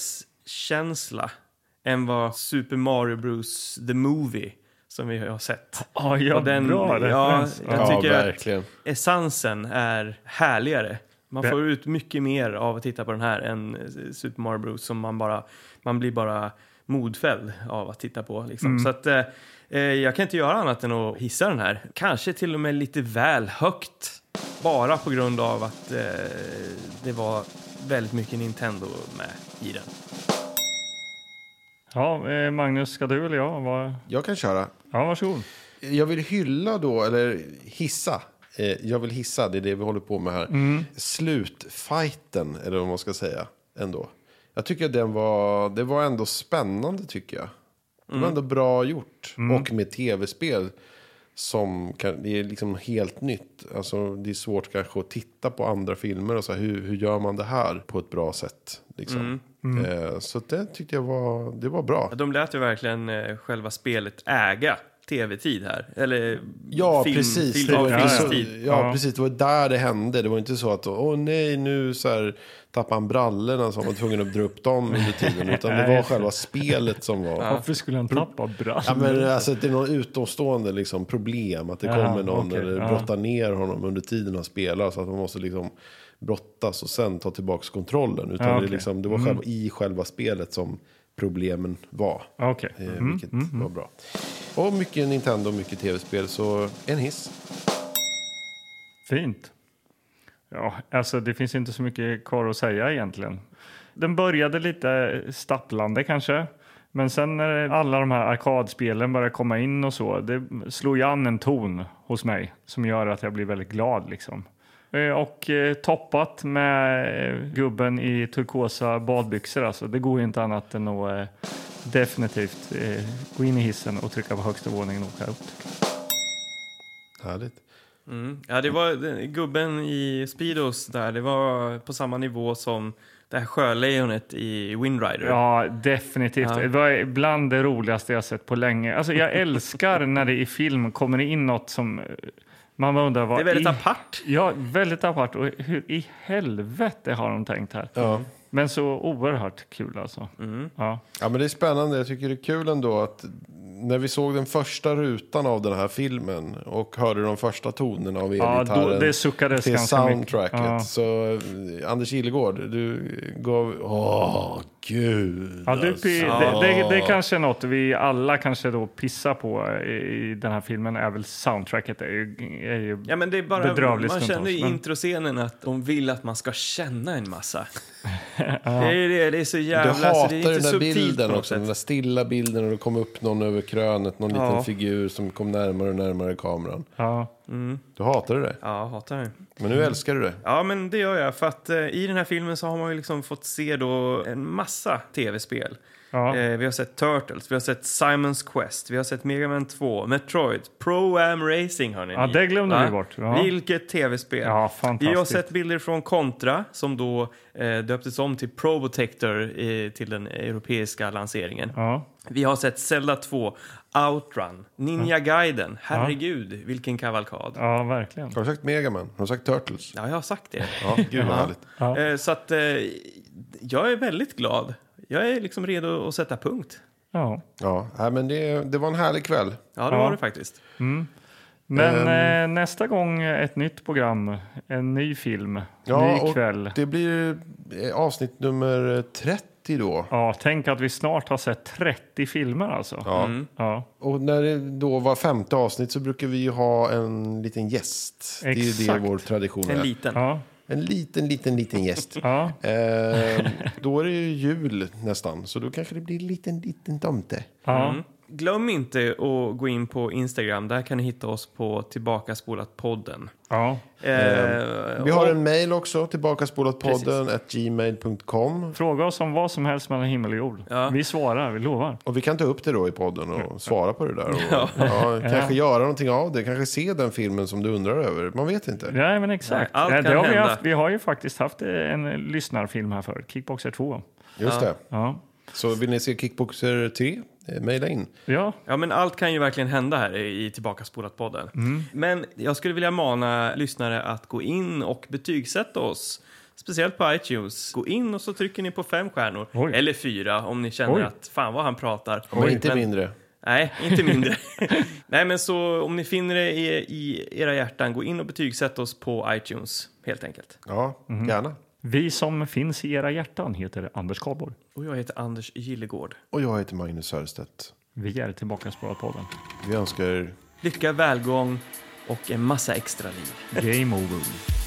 Speaker 2: tv-spelskänsla än vad Super Mario Bros. The Movie som vi har sett.
Speaker 3: Ja, ja,
Speaker 2: Och den-
Speaker 3: bra
Speaker 2: ja,
Speaker 3: referens.
Speaker 2: jag
Speaker 1: Ja,
Speaker 2: tycker att-
Speaker 1: verkligen.
Speaker 2: Essensen är härligare. Man
Speaker 3: Det-
Speaker 2: får ut mycket mer av att titta på den här än eh, Super Mario Bros som man bara, man blir bara modfälld av att titta på. Liksom. Så att eh, eh, jag kan inte göra annat än att hissa den här. Kanske till och med lite väl högt. Bara på grund av att eh, det var väldigt mycket Nintendo med i den.
Speaker 3: Ja, eh, Magnus, ska du eller jag? Var...
Speaker 1: Jag kan köra.
Speaker 3: Ja, varsågod.
Speaker 1: Jag vill hylla då, eller hissa. Eh, Jag vill hissa, det är det vi håller på med här. Slutfighten, eller vad man ska säga. Ändå. Jag tycker att den var, det var ändå spännande tycker jag. Det var ändå bra gjort. Och med tv-spel som kan, det är liksom helt nytt. Alltså, det är svårt kanske att titta på andra filmer och så här, hur, hur gör man det här på ett bra sätt? Liksom. Eh, så att det tyckte jag var, det var bra.
Speaker 2: Ja, De lät ju verkligen eh, själva spelet äga tv-tid här. Eller
Speaker 1: Ja,
Speaker 2: film,
Speaker 1: precis.
Speaker 2: Film,
Speaker 1: det var,
Speaker 2: ja,
Speaker 1: ju så,
Speaker 2: filmtid.
Speaker 1: ja,
Speaker 3: Ja.
Speaker 1: precis. Det var där det hände. Det var inte så att åh nej, nu så här, tappade han brallorna så var man tvungen att dra upp dem under tiden. Utan det var själva spelet som var. Ja.
Speaker 3: Varför skulle han tappa brallan?
Speaker 2: eh,
Speaker 1: men alltså att det är någon utomstående liksom, problem. Att det
Speaker 3: Jaha,
Speaker 1: kommer någon
Speaker 3: okej,
Speaker 1: eller
Speaker 3: ja.
Speaker 1: brottar ner honom under tiden han spelar. Så att man måste liksom brottas och sen ta tillbaka kontrollen. Utan
Speaker 3: Ja,
Speaker 1: det,
Speaker 3: okej.
Speaker 1: är liksom, det var själva, i själva spelet som problemen var.
Speaker 3: Okej.
Speaker 1: Eh, vilket var bra. Och mycket Nintendo och mycket tv-spel. Så en hiss.
Speaker 3: Fint. Ja, alltså det finns inte så mycket kvar att säga egentligen. Den började lite stapplande kanske. Men sen när alla de här arkadspelen börjar komma in och så, det slår ju an en ton hos mig som gör att jag blir väldigt glad liksom. Eh, Och eh, toppat med eh, gubben i turkosa badbyxor alltså. Det går ju inte annat än att eh, definitivt eh, gå in i hissen och trycka på högsta våningen och åka upp.
Speaker 1: Härligt.
Speaker 2: Ja, det var den- gubben i Speedos där. Det var på samma nivå som det här sjölejonet i Windrider.
Speaker 3: Ja, definitivt. Det var bland det roligaste jag sett på länge. Alltså, jag älskar när det i film kommer in något som eh, man bara undrar vad...
Speaker 2: Det är väldigt
Speaker 3: i...
Speaker 2: apart.
Speaker 3: Ja, väldigt apart. Och hur i helvete har de tänkt här?
Speaker 1: Ja.
Speaker 3: Men så oerhört kul alltså.
Speaker 2: Mm.
Speaker 3: Ja.
Speaker 1: Ja, men det är spännande. Jag tycker det är kul ändå att när vi såg den första rutan av den här filmen och hörde de första tonerna av
Speaker 3: Ja, då-
Speaker 1: elgitarren
Speaker 3: det suckades
Speaker 1: till
Speaker 3: ganska mycket.
Speaker 1: soundtracket.
Speaker 3: Ja.
Speaker 1: Så eh, Anders Ilegård, du gav... Åh, gud.
Speaker 3: Ja, du, pi- det, det, det är kanske något vi alla kanske då pissar på i, i den här filmen är väl soundtracket är ju, är ju
Speaker 2: Ja, men det är bara,
Speaker 3: bedrövligt
Speaker 2: man känner
Speaker 3: stundtals,
Speaker 2: i
Speaker 3: men-
Speaker 2: introscenen att de vill att man ska känna en massa. Det är ju det, det är så
Speaker 1: Du
Speaker 2: jävla...
Speaker 1: hatar
Speaker 2: alltså, det är
Speaker 1: den där
Speaker 2: subtilt på
Speaker 1: bilden
Speaker 2: något
Speaker 1: också,
Speaker 2: sätt.
Speaker 1: den där stilla bilden och det kom upp någon över krönet, någon
Speaker 2: Ja.
Speaker 1: liten figur som kom närmare och närmare kameran.
Speaker 3: Ja.
Speaker 1: Du hatade det,
Speaker 2: Ja, jag hatar den.
Speaker 1: men nu älskar du det.
Speaker 2: Ja, men det gör jag. För att eh, i den här filmen så har man ju liksom fått se då en massa tv-spel.
Speaker 3: Ja.
Speaker 2: Eh, vi har sett Turtles, vi har sett Simons Quest, vi har sett Mega Man 2, Metroid, Pro-Am Racing hörni.
Speaker 3: Ja, det glömde vi bort. Ja.
Speaker 2: Vilket tv-spel.
Speaker 3: Ja, fantastiskt.
Speaker 2: Vi har sett bilder från Contra som då eh, döptes om till Probotector eh, till den europeiska lanseringen.
Speaker 3: Ja.
Speaker 2: Vi har sett Zelda 2, Outrun, Ninja Gaiden. Herregud, vilken kavalkad.
Speaker 3: ja, verkligen.
Speaker 1: Har du sagt Megaman? Har du sagt Turtles?
Speaker 2: Ja, jag har sagt det.
Speaker 1: Ja, gud vad härligt.
Speaker 2: Eh, Så att eh, jag är väldigt glad. Jag är liksom redo att sätta punkt.
Speaker 3: Ja.
Speaker 1: Ja, nej, men det, det var en härlig kväll.
Speaker 2: Ja, det
Speaker 3: Ja.
Speaker 2: var det faktiskt.
Speaker 3: Men
Speaker 1: Ehm.
Speaker 3: eh, nästa gång ett nytt program, en ny film,
Speaker 1: Ja,
Speaker 3: ny
Speaker 1: och
Speaker 3: kväll.
Speaker 1: Det blir eh, avsnitt nummer 30 då.
Speaker 3: Ja, tänk att vi snart har sett 30 filmer alltså.
Speaker 1: Ja.
Speaker 3: Ja.
Speaker 1: Och när det då var femte avsnitt så brukar vi ju ha en liten gäst. Det är ju
Speaker 3: Exakt.
Speaker 1: det vår tradition
Speaker 2: En
Speaker 1: är.
Speaker 2: liten.
Speaker 3: Ja.
Speaker 1: en liten, liten, liten gäst.
Speaker 3: Ja.
Speaker 1: eh, då är det ju jul nästan, så då kanske det blir en liten, liten tomte.
Speaker 3: Ja.
Speaker 2: Glöm inte att gå in på Instagram. Där kan ni hitta oss på Tillbakaspolat-podden.
Speaker 3: ja. Ehm.
Speaker 2: Eh,
Speaker 1: Vi har
Speaker 2: och-
Speaker 1: en mail också, tillbakaspolatpodden at gmail.com.
Speaker 3: Fråga oss om vad som helst mellan himmel och jord. Vi svarar, vi lovar.
Speaker 1: Och vi kan ta upp det då i podden och svara på det där. Och, ja. kanske göra någonting av det, kanske se den filmen som du undrar över. Man vet inte.
Speaker 3: Ja, men exakt.
Speaker 2: Nej, allt
Speaker 3: Ja, det
Speaker 2: kan
Speaker 3: har vi,
Speaker 2: hända.
Speaker 3: haft, vi har ju faktiskt haft eh, en lyssnarfilm här förut, Kickboxer 2.
Speaker 1: Just det.
Speaker 3: Ja.
Speaker 1: Så vill ni se Kickboxer 3? Eh, Mejla in.
Speaker 3: Ja,
Speaker 2: Ja, men allt kan ju verkligen hända här i i Tillbakaspolat-podden.
Speaker 3: Mm.
Speaker 2: Men jag skulle vilja mana lyssnare att gå in och betygsätta oss. Speciellt på iTunes. Gå in och så trycker ni på fem stjärnor.
Speaker 3: Oj.
Speaker 2: Eller fyra om ni känner
Speaker 3: Oj.
Speaker 2: att fan vad han pratar.
Speaker 1: Och inte
Speaker 2: Men-
Speaker 1: mindre.
Speaker 2: Nej, inte mindre. Nej, men så om ni finner det i, i era hjärtan, gå in och betygsätt oss på iTunes helt enkelt.
Speaker 1: Ja, gärna.
Speaker 3: Vi som finns i era hjärtan heter Anders Karlborg.
Speaker 2: Och jag heter Anders Gillegård.
Speaker 1: Och jag heter Magnus Sörstedt.
Speaker 3: Vi är tillbaka på podden.
Speaker 1: Vi önskar er
Speaker 2: Lycka, välgång och en massa extra liv.
Speaker 3: Game over.